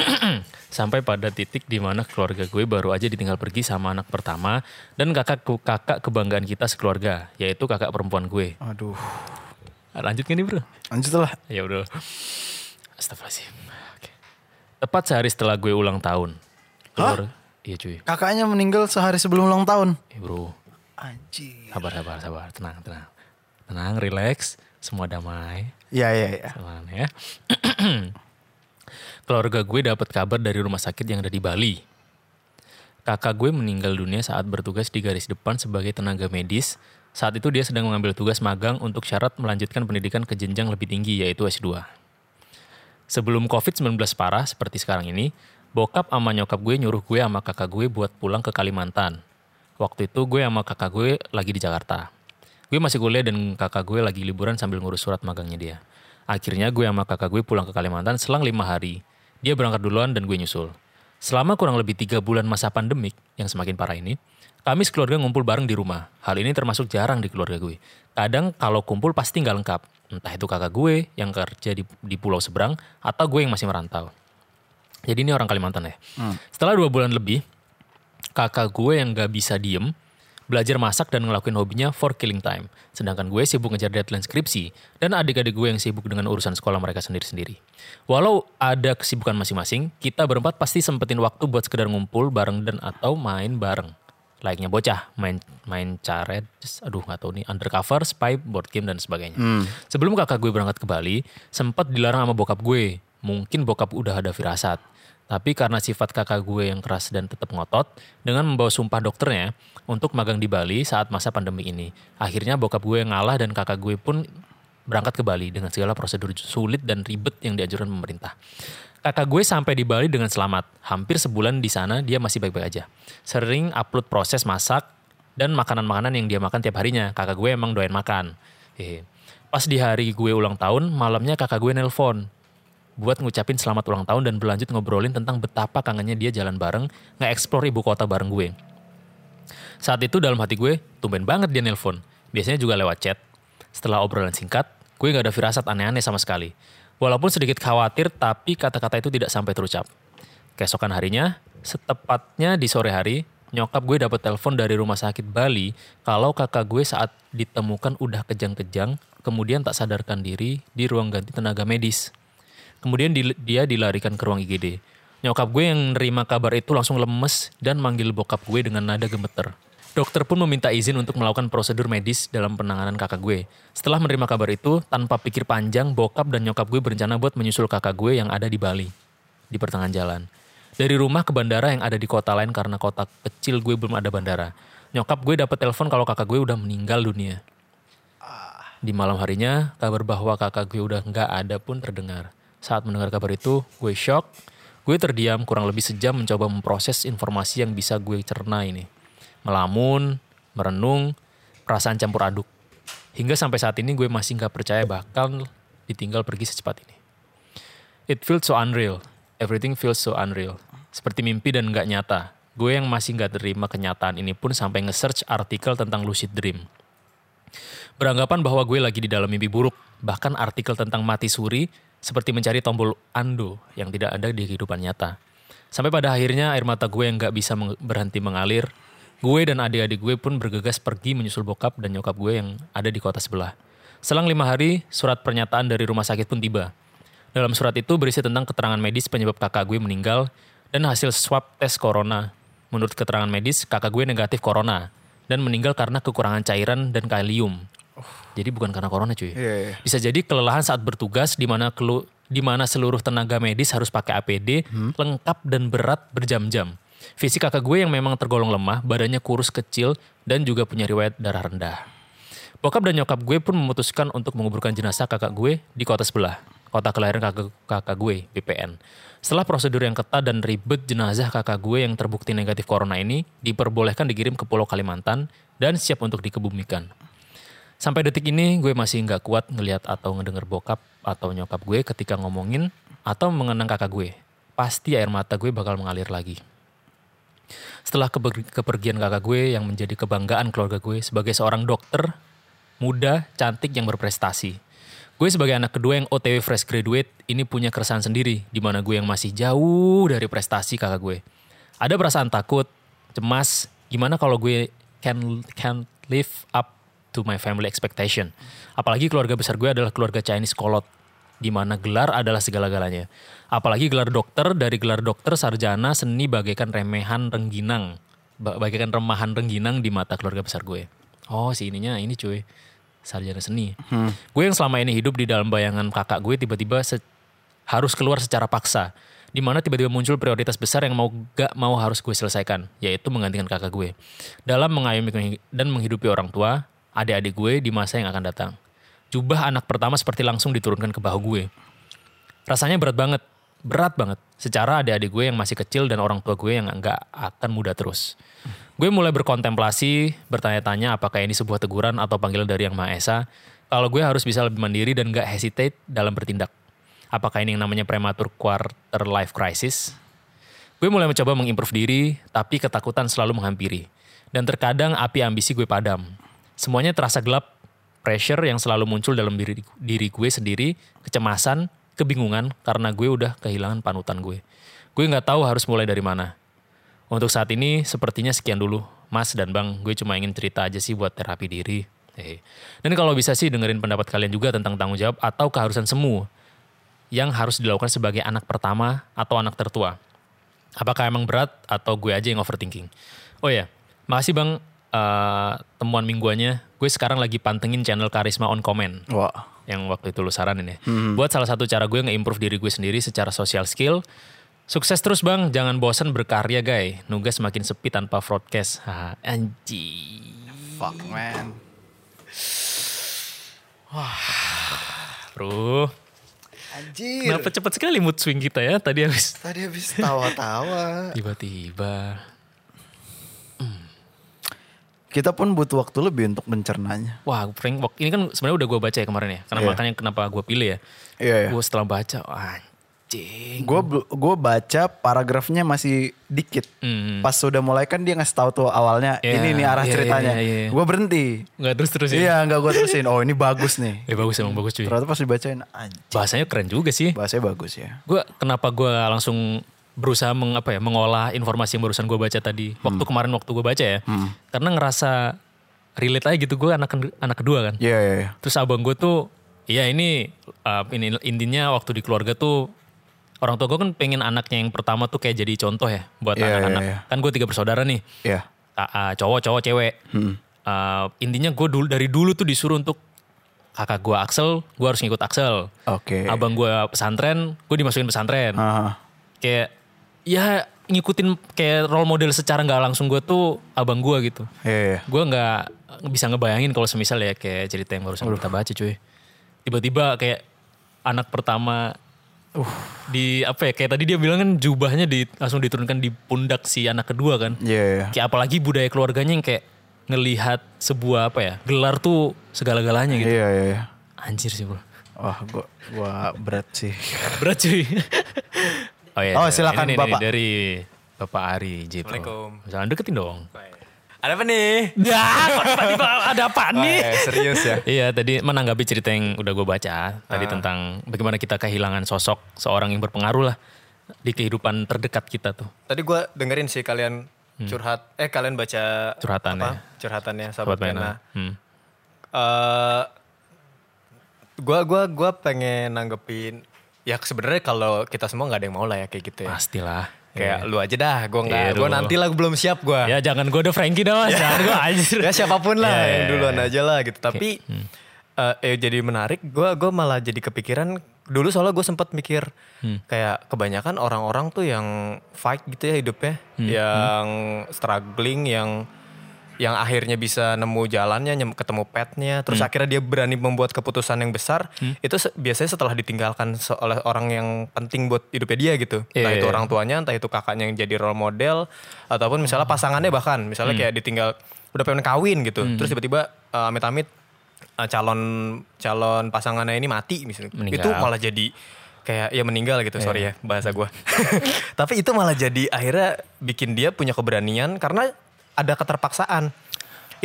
S1: sampai pada titik di mana keluarga gue baru aja ditinggal pergi sama anak pertama dan kakak kakak kebanggaan kita sekeluarga, yaitu kakak perempuan gue.
S3: Aduh.
S1: Lanjut gak nih bro?
S3: Lanjutlah.
S1: Ya udah. Astagfirullahaladzim. Oke. Tepat sehari setelah gue ulang tahun. Keluar. Iya cuy.
S3: Kakaknya meninggal sehari sebelum ulang tahun.
S1: Eh, bro,
S3: Anjir.
S1: sabar sabar sabar, tenang tenang, tenang, relax, semua damai.
S3: Iya, iya, iya.
S1: Pelan ya. Keluarga gue dapat kabar dari rumah sakit yang ada di Bali. Kakak gue meninggal dunia saat bertugas di garis depan sebagai tenaga medis. Saat itu dia sedang mengambil tugas magang untuk syarat melanjutkan pendidikan ke jenjang lebih tinggi yaitu S2. Sebelum COVID-19 parah seperti sekarang ini, bokap ama nyokap gue nyuruh gue sama kakak gue buat pulang ke Kalimantan. Waktu itu gue sama kakak gue lagi di Jakarta. Gue masih kuliah dan kakak gue lagi liburan sambil ngurus surat magangnya dia. Akhirnya gue sama kakak gue pulang ke Kalimantan selang lima hari. Dia berangkat duluan dan gue nyusul. Selama kurang lebih tiga bulan masa pandemik yang semakin parah ini, kami sekeluarga ngumpul bareng di rumah. Hal ini termasuk jarang di keluarga gue. Kadang kalau kumpul pasti nggak lengkap. Entah itu kakak gue yang kerja di, di pulau seberang atau gue yang masih merantau. Jadi ini orang Kalimantan ya. Setelah dua bulan lebih, kakak gue yang gak bisa diem, belajar masak dan ngelakuin hobinya for killing time. Sedangkan gue sibuk ngejar deadline skripsi, dan adik-adik gue yang sibuk dengan urusan sekolah mereka sendiri-sendiri. Walau ada kesibukan masing-masing, kita berempat pasti sempetin waktu buat sekedar ngumpul bareng dan atau main bareng. Layaknya bocah, main main caret, aduh gak tau nih, undercover, spy, board game, dan sebagainya. Sebelum kakak gue berangkat ke Bali, sempat dilarang sama bokap gue. Mungkin bokap udah ada firasat. Tapi karena sifat kakak gue yang keras dan tetap ngotot, dengan membawa sumpah dokternya untuk magang di Bali saat masa pandemi ini. Akhirnya bokap gue ngalah dan kakak gue pun berangkat ke Bali dengan segala prosedur sulit dan ribet yang dianjurkan pemerintah. Kakak gue sampai di Bali dengan selamat. Hampir sebulan di sana dia masih baik-baik aja. Sering upload proses masak dan makanan-makanan yang dia makan tiap harinya. Kakak gue emang doain makan. Hehe. Pas di hari gue ulang tahun, malamnya kakak gue nelpon buat ngucapin selamat ulang tahun dan berlanjut ngobrolin tentang betapa kangennya dia jalan bareng, nge-explore ibu kota bareng gue. Saat itu dalam hati gue, tumben banget dia nelpon. Biasanya juga lewat chat. Setelah obrolan singkat, gue Gue nggak ada firasat aneh-aneh sama sekali. Walaupun sedikit khawatir, tapi kata-kata itu tidak sampai terucap. Keesokan harinya, setepatnya di sore hari, nyokap gue dapat telepon dari rumah sakit Bali kalau kakak gue saat ditemukan udah kejang-kejang, kemudian tak sadarkan diri di ruang ganti tenaga medis. Kemudian dil- dia dilarikan ke ruang IGD. Nyokap gue yang nerima kabar itu langsung lemes dan manggil bokap gue dengan nada gemeter. Dokter pun meminta izin untuk melakukan prosedur medis dalam penanganan kakak gue. Setelah menerima kabar itu, tanpa pikir panjang, bokap dan nyokap gue berencana buat menyusul kakak gue yang ada di Bali. Di pertengahan jalan. Dari rumah ke bandara yang ada di kota lain karena kota kecil gue belum ada bandara. Nyokap gue dapat telepon kalau kakak gue udah meninggal dunia. Di malam harinya, kabar bahwa kakak gue udah nggak ada pun terdengar. Saat mendengar kabar itu, gue shock. Gue terdiam kurang lebih sejam mencoba memproses informasi yang bisa gue cerna ini. Melamun, merenung, perasaan campur aduk. Hingga sampai saat ini gue masih nggak percaya bakal ditinggal pergi secepat ini. It feels so unreal. Everything feels so unreal. Seperti mimpi dan nggak nyata. Gue yang masih nggak terima kenyataan ini pun sampai nge-search artikel tentang lucid dream. Beranggapan bahwa gue lagi di dalam mimpi buruk. Bahkan artikel tentang mati suri seperti mencari tombol ando yang tidak ada di kehidupan nyata. Sampai pada akhirnya air mata gue yang gak bisa meng- berhenti mengalir. Gue dan adik-adik gue pun bergegas pergi menyusul bokap dan nyokap gue yang ada di kota sebelah. Selang lima hari, surat pernyataan dari rumah sakit pun tiba. Dalam surat itu berisi tentang keterangan medis penyebab kakak gue meninggal dan hasil swab tes corona. Menurut keterangan medis, kakak gue negatif corona dan meninggal karena kekurangan cairan dan kalium. Jadi bukan karena corona cuy.
S3: Iya, iya.
S1: Bisa jadi kelelahan saat bertugas di mana kelu- di mana seluruh tenaga medis harus pakai APD
S3: Hmm.
S1: lengkap dan berat berjam-jam. Fisik kakak gue yang memang tergolong lemah, badannya kurus kecil dan juga punya riwayat darah rendah. Bokap dan nyokap gue pun memutuskan untuk menguburkan jenazah kakak gue di kota sebelah, kota kelahiran kakak, kakak gue, BPN. Setelah prosedur yang ketat dan ribet, jenazah kakak gue yang terbukti negatif corona ini diperbolehkan dikirim ke Pulau Kalimantan dan siap untuk dikebumikan. Sampai detik ini gue masih nggak kuat ngelihat atau ngedenger bokap atau nyokap gue ketika ngomongin atau mengenang kakak gue. Pasti air mata gue bakal mengalir lagi. Setelah keper- kepergian kakak gue yang menjadi kebanggaan keluarga gue sebagai seorang dokter, muda, cantik yang berprestasi. Gue sebagai anak kedua yang OTW fresh graduate ini punya keresahan sendiri di mana gue yang masih jauh dari prestasi kakak gue. Ada perasaan takut, cemas, gimana kalau gue can can live up to my family expectation. Apalagi keluarga besar gue adalah keluarga Chinese kolot di mana gelar adalah segala-galanya. Apalagi gelar dokter dari gelar dokter sarjana seni bagaikan remehan rengginang, Ba- bagaikan remahan rengginang di mata keluarga besar gue. Oh, si ininya ini cuy. Sarjana seni. Gue yang selama ini hidup di dalam bayangan kakak gue tiba-tiba se- harus keluar secara paksa. Di mana tiba-tiba muncul prioritas besar yang mau gak mau harus gue selesaikan, yaitu menggantikan kakak gue. Dalam mengayomi dan menghidupi orang tua, adik-adik gue di masa yang akan datang. Jubah anak pertama seperti langsung diturunkan ke bahu gue. Rasanya berat banget, berat banget. Secara adik-adik gue yang masih kecil dan orang tua gue yang nggak akan muda terus. Gue mulai berkontemplasi, bertanya-tanya apakah ini sebuah teguran atau panggilan dari Yang Maha Esa. Kalau gue harus bisa lebih mandiri dan gak hesitate dalam bertindak. Apakah ini yang namanya prematur quarter life crisis? Gue mulai mencoba mengimprove diri, tapi ketakutan selalu menghampiri. Dan terkadang api ambisi gue padam. Semuanya terasa gelap, pressure yang selalu muncul dalam diri, diri gue sendiri, kecemasan, kebingungan karena gue udah kehilangan panutan gue. Gue nggak tahu harus mulai dari mana. Untuk saat ini sepertinya sekian dulu. Mas dan Bang, gue cuma ingin cerita aja sih buat terapi diri. Eh. Dan kalau bisa sih dengerin pendapat kalian juga tentang tanggung jawab atau keharusan semu yang harus dilakukan sebagai anak pertama atau anak tertua. Apakah emang berat atau gue aja yang overthinking? Oh ya, makasih Bang eh, temuan mingguannya. Gue sekarang lagi pantengin channel Karisma on Comment
S3: Wah.
S1: yang waktu itu lu saranin ya. Buat salah satu cara gue nge-improve diri gue sendiri secara social skill. Sukses terus bang, jangan bosan berkarya guys. Nugas makin sepi tanpa broadcast. Ha, anji.
S3: Fuck man.
S1: Bro,
S3: Anjir.
S1: kenapa cepat sekali mood swing kita ya? Tadi habis
S3: Tadi habis tawa-tawa.
S1: tiba-tiba.
S3: Kita pun butuh waktu lebih untuk mencernanya.
S1: Wah, Frank Walk. Ini kan sebenarnya udah gue baca ya kemarin ya. Karena
S3: Iya.
S1: makanya kenapa gue pilih ya.
S3: Iya, iya.
S1: Gue setelah baca, wah, Anjing.
S3: Gue gue baca paragrafnya masih dikit.
S1: Hmm.
S3: Pas sudah mulai kan dia ngasih tahu tuh awalnya
S1: Iya,
S3: ini nih arah
S1: iya,
S3: ceritanya.
S1: iya, iya.
S3: Gue berhenti.
S1: Enggak terus-terus ya.
S3: Iya nggak gue terusin. Iya. Oh ini bagus nih.
S1: Eh bagus emang bagus cuy.
S3: Ternyata pas dibacain anjing
S1: Bahasanya keren juga sih.
S3: bahasanya bagus ya.
S1: Gue kenapa gue langsung berusaha meng, apa ya, mengolah informasi yang barusan gue baca tadi. Waktu
S3: Hmm.
S1: kemarin waktu gue baca ya. Karena ngerasa relate aja gitu gue anak anak kedua kan.
S3: Iya iya. iya.
S1: Terus abang gue tuh, ya ini, uh, ini intinya waktu di keluarga tuh orang tua gue kan pengen anaknya yang pertama tuh kayak jadi contoh ya buat
S3: Iya,
S1: anak-anak.
S3: iya,
S1: Kan gue tiga bersaudara nih,
S3: Iya.
S1: Ah, ah, cowok, cowok, cewek.
S3: Hmm.
S1: Uh, intinya gue dulu dari dulu tuh disuruh untuk kakak gue Axel, gue harus ngikut Axel.
S3: Oke.
S1: Abang gue pesantren, gue dimasukin pesantren.
S3: Ah,
S1: Kayak ya ngikutin kayak role model secara nggak langsung gue tuh abang gue gitu
S3: Iya. iya.
S1: gue nggak bisa ngebayangin kalau semisal ya kayak cerita yang barusan kita baca cuy tiba-tiba kayak anak pertama uh di apa ya kayak tadi dia bilang kan jubahnya di langsung diturunkan di pundak si anak kedua kan
S3: Iya. iya.
S1: kayak apalagi budaya keluarganya yang kayak ngelihat sebuah apa ya gelar tuh segala-galanya gitu
S3: Iya iya. iya.
S1: anjir sih bro
S3: Wah gua gua berat sih.
S1: berat cuy oh ya
S3: Oh, silakan, Bapak.
S1: dari Bapak Ari Jepro.
S4: Assalamualaikum.
S1: Jangan deketin dong.
S4: Ada apa nih?
S1: Ya, kok tiba-tiba ada apa nih?
S4: Eh, serius ya.
S1: Iya tadi menanggapi cerita yang udah gue baca
S4: Ah.
S1: tadi tentang bagaimana kita kehilangan sosok seorang yang berpengaruh lah di kehidupan terdekat kita tuh.
S4: Tadi gue dengerin sih kalian curhat, eh kalian baca
S1: Curhatan
S4: apa?
S1: ya.
S4: Curhatannya sahabat
S1: Sobat
S4: pena.
S1: Pena. Hmm.
S4: Eh, Gua gua gua pengen nanggepin ya sebenarnya kalau kita semua nggak ada yang mau lah ya kayak gitu ya.
S1: Pastilah.
S4: Kayak lu aja dah, gua nggak,
S1: Iya,
S4: gua
S1: lu.
S4: nanti lah gua belum siap gua.
S1: Ya jangan gue udah Frankie dah mas, jangan gue anjir.
S4: ya siapapun lah
S1: Iya, iya,
S4: yang
S1: iya.
S4: duluan aja lah gitu tapi eh, eh, jadi menarik gue gua malah jadi kepikiran dulu soalnya gue sempat mikir kayak kebanyakan orang-orang tuh yang fight gitu ya hidupnya yang struggling yang yang akhirnya bisa nemu jalannya nyem- ketemu petnya terus akhirnya dia berani membuat keputusan yang besar itu se- biasanya setelah ditinggalkan se- oleh orang yang penting buat hidupnya dia gitu entah
S1: Iya,
S4: itu
S1: iya.
S4: orang tuanya, entah itu kakaknya yang jadi role model, ataupun misalnya pasangannya bahkan,
S1: Hmm.
S4: misalnya kayak ditinggal udah pengen kawin gitu, terus tiba-tiba eh, amit-amit eh, calon calon pasangannya ini mati misalnya,
S1: Meninggal. Iya.
S4: itu malah jadi kayak ya meninggal gitu, sorry ya bahasa gua. Tapi itu malah jadi akhirnya bikin dia punya keberanian karena ada keterpaksaan.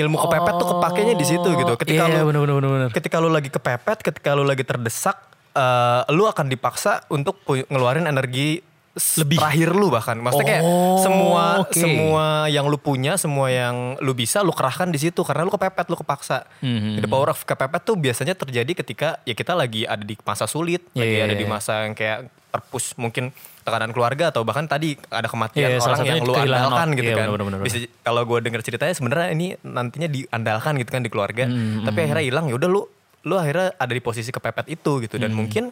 S4: Ilmu kepepet tuh kepakainya di situ gitu. Ketika
S1: Oh. Iya,
S4: lu-
S1: bener, bener, bener, bener.
S4: ketika lu lagi kepepet, ketika lu lagi terdesak, eh, lu akan dipaksa untuk pu- ngeluarin energi lebih terakhir lu bahkan. Maksudnya kayak
S1: Oh,
S4: semua
S1: oke.
S4: semua yang lu punya, semua yang lu bisa lu kerahkan di situ karena lu kepepet, lu kepaksa.
S1: Hmm.
S4: Jadi power of kepepet tuh biasanya terjadi ketika ya kita lagi ada di masa sulit,
S1: Iya,
S4: lagi
S1: iya,
S4: ada di
S1: iya.
S4: masa yang kayak terpus mungkin tekanan keluarga atau bahkan tadi ada kematian
S1: Iya, salah
S4: orang yang
S1: satunya
S4: lu
S1: kehilangan
S4: andalkan
S1: orang.
S4: gitu
S1: Iya,
S4: kan.
S1: bener-bener.
S4: Bisa J- kalau gue denger ceritanya sebenarnya ini nantinya diandalkan gitu kan di keluarga
S1: Hmm,
S4: tapi akhirnya hilang ya udah lu lu akhirnya ada di posisi kepepet itu gitu
S1: Hmm.
S4: dan mungkin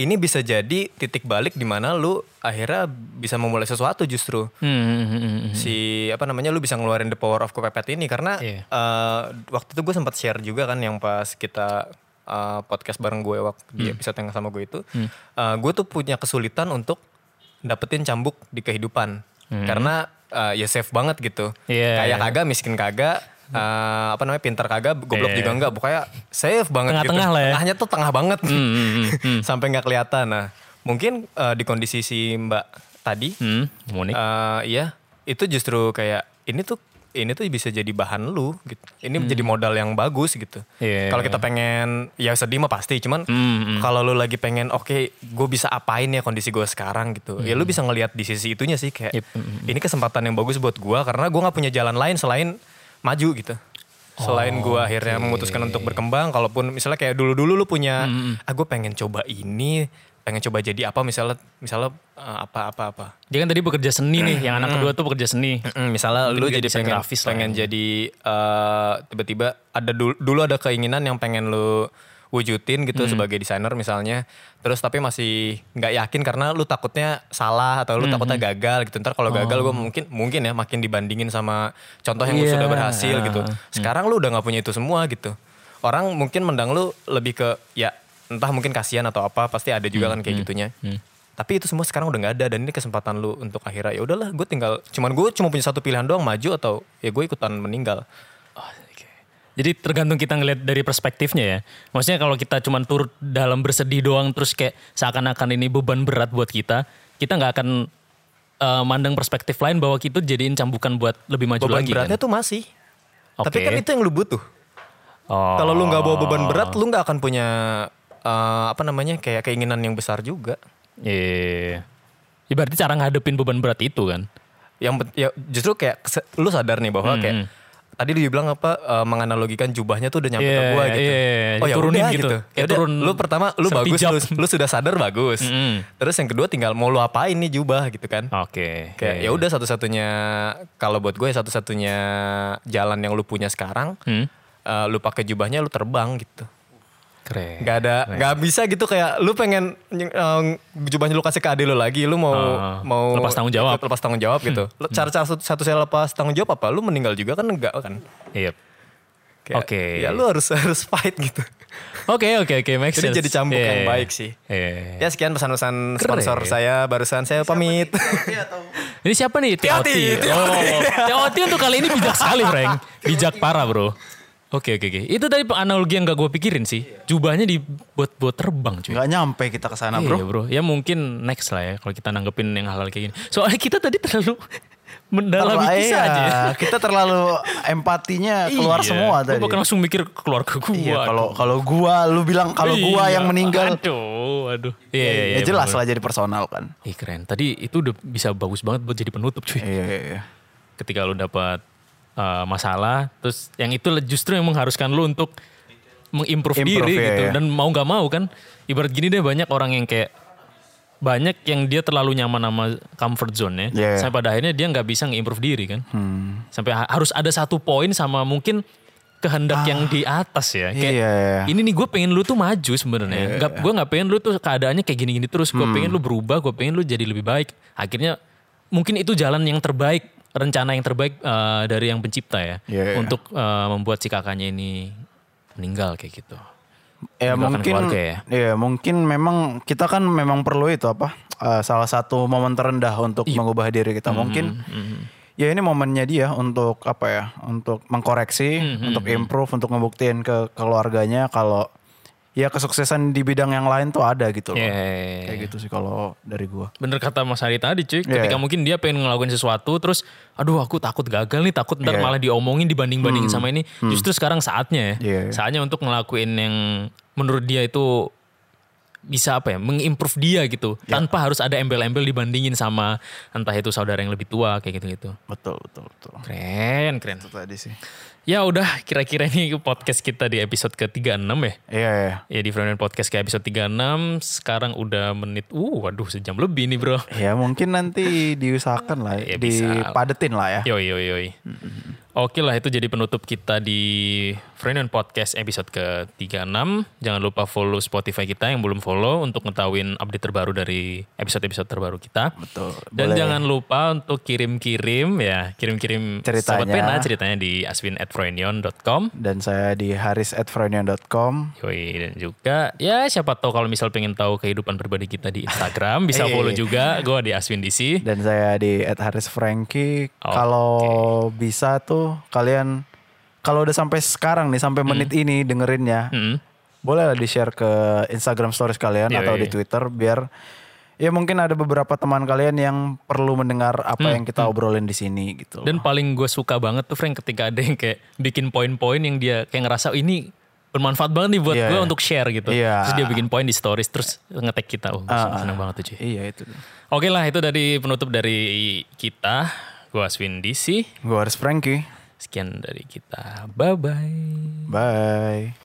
S4: ini bisa jadi titik balik di mana lu akhirnya bisa memulai sesuatu justru
S1: Hmm, hmm, hmm, hmm, hmm.
S4: si apa namanya lu bisa ngeluarin the power of kepepet ini karena
S1: Iya.
S4: eh, waktu itu gue sempat share juga kan yang pas kita eh, podcast bareng gue waktu di
S1: Hmm.
S4: episode yang sama gue itu eh, gue tuh punya kesulitan untuk dapetin cambuk di kehidupan karena eh, ya safe banget gitu
S1: Hmm. Iya.
S4: kayak kagak miskin kagak eh, apa namanya pintar kagak goblok
S1: Iya.
S4: juga enggak pokoknya safe banget
S1: Tengah-tengah
S4: gitu
S1: lah ya. hmm,
S4: tengahnya tuh tengah banget sampai nggak kelihatan nah mungkin eh, di kondisi si mbak tadi
S1: Hmm, Monik.
S4: Eh, iya, itu justru kayak ini tuh ini tuh bisa jadi bahan lu gitu. Ini menjadi modal yang bagus gitu.
S1: Hmm. Iya. Hmm,
S4: Kalau kita pengen ya sedih mah pasti, cuman kalau lu lagi pengen oke, gue bisa apain ya kondisi gue sekarang gitu. Ya lu bisa ngelihat di sisi itunya sih kayak
S1: Hmm. Yep. hmm,
S4: ini kesempatan yang bagus buat gua karena gua nggak punya jalan lain selain maju gitu. Selain
S1: Oh,
S4: gua akhirnya memutuskan untuk berkembang, kalaupun misalnya kayak dulu-dulu lu punya,
S1: Hmm,
S4: ah gue pengen coba ini, pengen coba jadi apa misalnya, misalnya eh, apa-apa-apa.
S1: Dia kan tadi bekerja seni nih, yang
S4: Hmm.
S1: anak kedua tuh bekerja seni.
S4: Mm, misalnya
S1: Mungkin
S4: lu
S1: juga
S4: jadi
S1: desain
S4: pengen,
S1: grafis lah
S4: pengen
S1: ya.
S4: jadi eh, tiba-tiba ada dulu, dulu ada keinginan yang pengen lu wujudin gitu sebagai desainer misalnya terus tapi masih nggak yakin karena lu takutnya salah atau lu takutnya gagal gitu ntar kalau gagal gue mungkin mungkin ya makin dibandingin sama contoh yang lu
S1: Iya.
S4: sudah berhasil gitu sekarang lu udah nggak punya itu semua gitu orang mungkin mendang lu lebih ke ya entah mungkin kasihan atau apa pasti ada juga
S1: Hmm,
S4: kan kayak gitunya tapi itu semua sekarang udah nggak ada dan ini kesempatan lu untuk akhirnya ya udahlah gue tinggal cuman gue cuma punya satu pilihan doang maju atau ya gue ikutan meninggal
S1: Jadi tergantung kita ngelihat dari perspektifnya ya. Maksudnya kalau kita cuma turut dalam bersedih doang terus kayak seakan-akan ini beban berat buat kita, kita nggak akan eh, mandang perspektif lain bahwa itu jadiin cambukan buat lebih maju
S4: beban
S1: lagi. kan.
S4: beratnya tuh masih. Tapi
S1: Oke.
S4: kan itu yang lu butuh.
S1: Oh.
S4: Kalau lu nggak bawa beban berat, lu nggak akan punya eh, apa namanya kayak keinginan yang besar juga.
S1: Iya. Ya berarti cara ngadepin beban berat itu kan.
S4: Yang pent- ya, justru kayak kese- lu sadar nih bahwa kayak tadi lu bilang apa eh, menganalogikan jubahnya tuh udah nyampe ke
S1: Iya,
S4: gua gitu.
S1: iya, iya.
S4: Oh ya
S1: Diturunin
S4: udah
S1: gitu.
S4: gitu. Ya
S1: Kayak
S4: udah,
S1: turun
S4: lu pertama lu bagus
S1: sertijab.
S4: lu, lu sudah sadar bagus. Terus yang kedua tinggal mau lu apain nih jubah gitu kan.
S1: Oke.
S4: Kayak ya udah satu-satunya kalau buat gue satu-satunya jalan yang lu punya sekarang
S1: Hmm?
S4: eh, lu pakai jubahnya lu terbang gitu.
S1: Keren.
S4: Gak ada,
S1: Iya.
S4: gak bisa gitu kayak lu pengen eh, jubahnya lu kasih ke adik lu lagi, lu mau
S1: Ah,
S4: mau
S1: lepas tanggung jawab. Hmm.
S4: lepas tanggung jawab gitu. Lu Cara-cara satu, satu saya lepas tanggung jawab apa? Lu meninggal juga kan enggak kan?
S1: Yep.
S4: Kayak,
S1: Oke.
S4: Ya lu harus harus fight gitu.
S1: Oke oke oke make
S4: Jadi
S1: sense.
S4: jadi cambuk
S1: Iya,
S4: yang
S1: iya.
S4: baik sih.
S1: Iya.
S4: Ya sekian pesan-pesan sponsor saya barusan saya pamit.
S1: Ini siapa nih? TOT.
S4: TOT.
S1: Oh. TOT untuk kali ini bijak sekali, Frank. Bijak parah, Bro. Oke oke oke. Itu tadi analogi yang gak gue pikirin sih. Jubahnya dibuat buat terbang cuy.
S3: Nggak nyampe kita ke sana
S1: Iya,
S3: bro.
S1: bro. Ya mungkin next lah ya kalau kita nanggepin yang hal-hal kayak gini. Soalnya kita tadi terlalu mendalami kisah
S3: Terlalu- iya,
S1: aja. ya.
S3: Kita terlalu empatinya keluar
S1: Iya.
S3: semua
S1: Gua
S3: tadi.
S1: Bahkan langsung mikir keluar ke gua.
S3: Iya, kalau kalau gua lu bilang kalau gua
S1: Iya.
S3: yang meninggal
S1: Aduh, aduh. Iya, iya,
S3: ya
S1: iya,
S3: jelas
S1: bener.
S3: lah jadi personal kan.
S1: Ih keren. Tadi itu udah bisa bagus banget buat jadi penutup cuy.
S3: Iya, iya, iya.
S1: ketika lu dapat uh, masalah terus yang itu le- justru yang mengharuskan lu untuk mengimprove
S3: Improve,
S1: diri
S3: ya,
S1: gitu
S3: ya.
S1: dan mau nggak mau kan ibarat gini deh banyak orang yang kayak banyak yang dia terlalu nyaman sama comfort zone ya
S3: Iya, Hmm. iya.
S1: sampai pada akhirnya dia nggak bisa nge-improve diri kan sampai ha- harus ada satu poin sama mungkin kehendak yang di atas ya kayak
S3: Ah. Iya, iya.
S1: ini nih gue pengen lu tuh maju sebenarnya Nggak- gue nggak pengen lu tuh keadaannya kayak gini-gini terus gue pengen lu berubah gue pengen lu jadi lebih baik akhirnya mungkin itu jalan yang terbaik rencana yang terbaik eh, dari yang pencipta ya
S3: Iya, iya.
S1: untuk eh, membuat si kakaknya ini meninggal kayak gitu
S3: Ya
S1: Meninggalkan
S3: mungkin
S1: keluarga ya.
S3: Iya, mungkin memang kita kan memang perlu itu apa? eh, salah satu momen terendah untuk
S1: Iya.
S3: mengubah diri
S1: Hmm,
S3: kita. Mungkin ya ini momennya dia untuk apa ya? Untuk mengkoreksi,
S1: Hmm,
S3: untuk improve, untuk ngebuktiin ke keluarganya kalau ya kesuksesan di bidang yang lain tuh ada gitu loh.
S1: Iya, iya, iya.
S3: Kayak gitu sih kalau dari gua.
S1: bener kata Mas Hari tadi cuy
S3: Iya,
S1: ketika
S3: iya.
S1: mungkin dia pengen ngelakuin sesuatu terus aduh aku takut gagal nih takut ntar
S3: Iya. Hmm.
S1: malah diomongin dibanding-bandingin sama ini justru sekarang saatnya ya
S3: Iya, iya.
S1: saatnya untuk ngelakuin yang menurut dia itu bisa apa ya mengimprove dia gitu
S3: Iya.
S1: tanpa harus ada embel-embel dibandingin sama entah itu saudara yang lebih tua kayak gitu-gitu
S3: Betul, betul, betul.
S1: keren keren
S3: Itu tadi sih.
S1: ya udah kira-kira ini podcast kita di episode ke-36 ya
S3: Iya, iya.
S1: ya di Friend Podcast ke episode 36 sekarang udah menit uh waduh sejam lebih nih bro
S3: Ya mungkin nanti diusahakan lah,
S1: Ya, bisa. Iya,
S3: dipadetin lah ya.
S1: Yoi yoi yoi. Oke lah itu jadi penutup kita di Friend and Podcast episode ke-36. Jangan lupa follow Spotify kita yang belum follow untuk ngetahuin update terbaru dari episode-episode terbaru kita.
S3: Betul.
S1: Dan
S3: Boleh.
S1: jangan lupa untuk kirim-kirim ya, kirim-kirim
S3: Ceritanya.
S1: sobat pena ceritanya di aswin@frenion.com.
S3: Dan saya di haris@frenion.com.
S1: Yoi dan juga ya siapa tahu kalau misal pengen tahu kehidupan pribadi kita di Instagram
S3: Iya,
S1: bisa follow juga gua di aswindc.
S3: dan saya di @harisfranky. Kalau bisa tuh kalian kalau udah sampai sekarang nih sampai menit ini dengerinnya, boleh lah di share ke Instagram stories kalian atau di Twitter biar ya mungkin ada beberapa teman kalian yang perlu mendengar apa yang kita obrolin di sini gitu.
S1: Dan paling gue suka banget tuh Frank ketika ada yang kayak bikin poin-poin yang dia kayak ngerasa "Oh, ini bermanfaat banget nih buat
S3: Iya.
S1: gue untuk share gitu.
S3: Iya.
S1: Terus dia bikin poin di stories terus ngetek kita. Oh, gue seneng banget tuh cuy.
S3: iya itu.
S1: Oke lah itu dari penutup dari kita. Gue Aswin DC.
S3: Gue Haris Franky.
S1: Sekian dari kita. Bye-bye.
S3: Bye.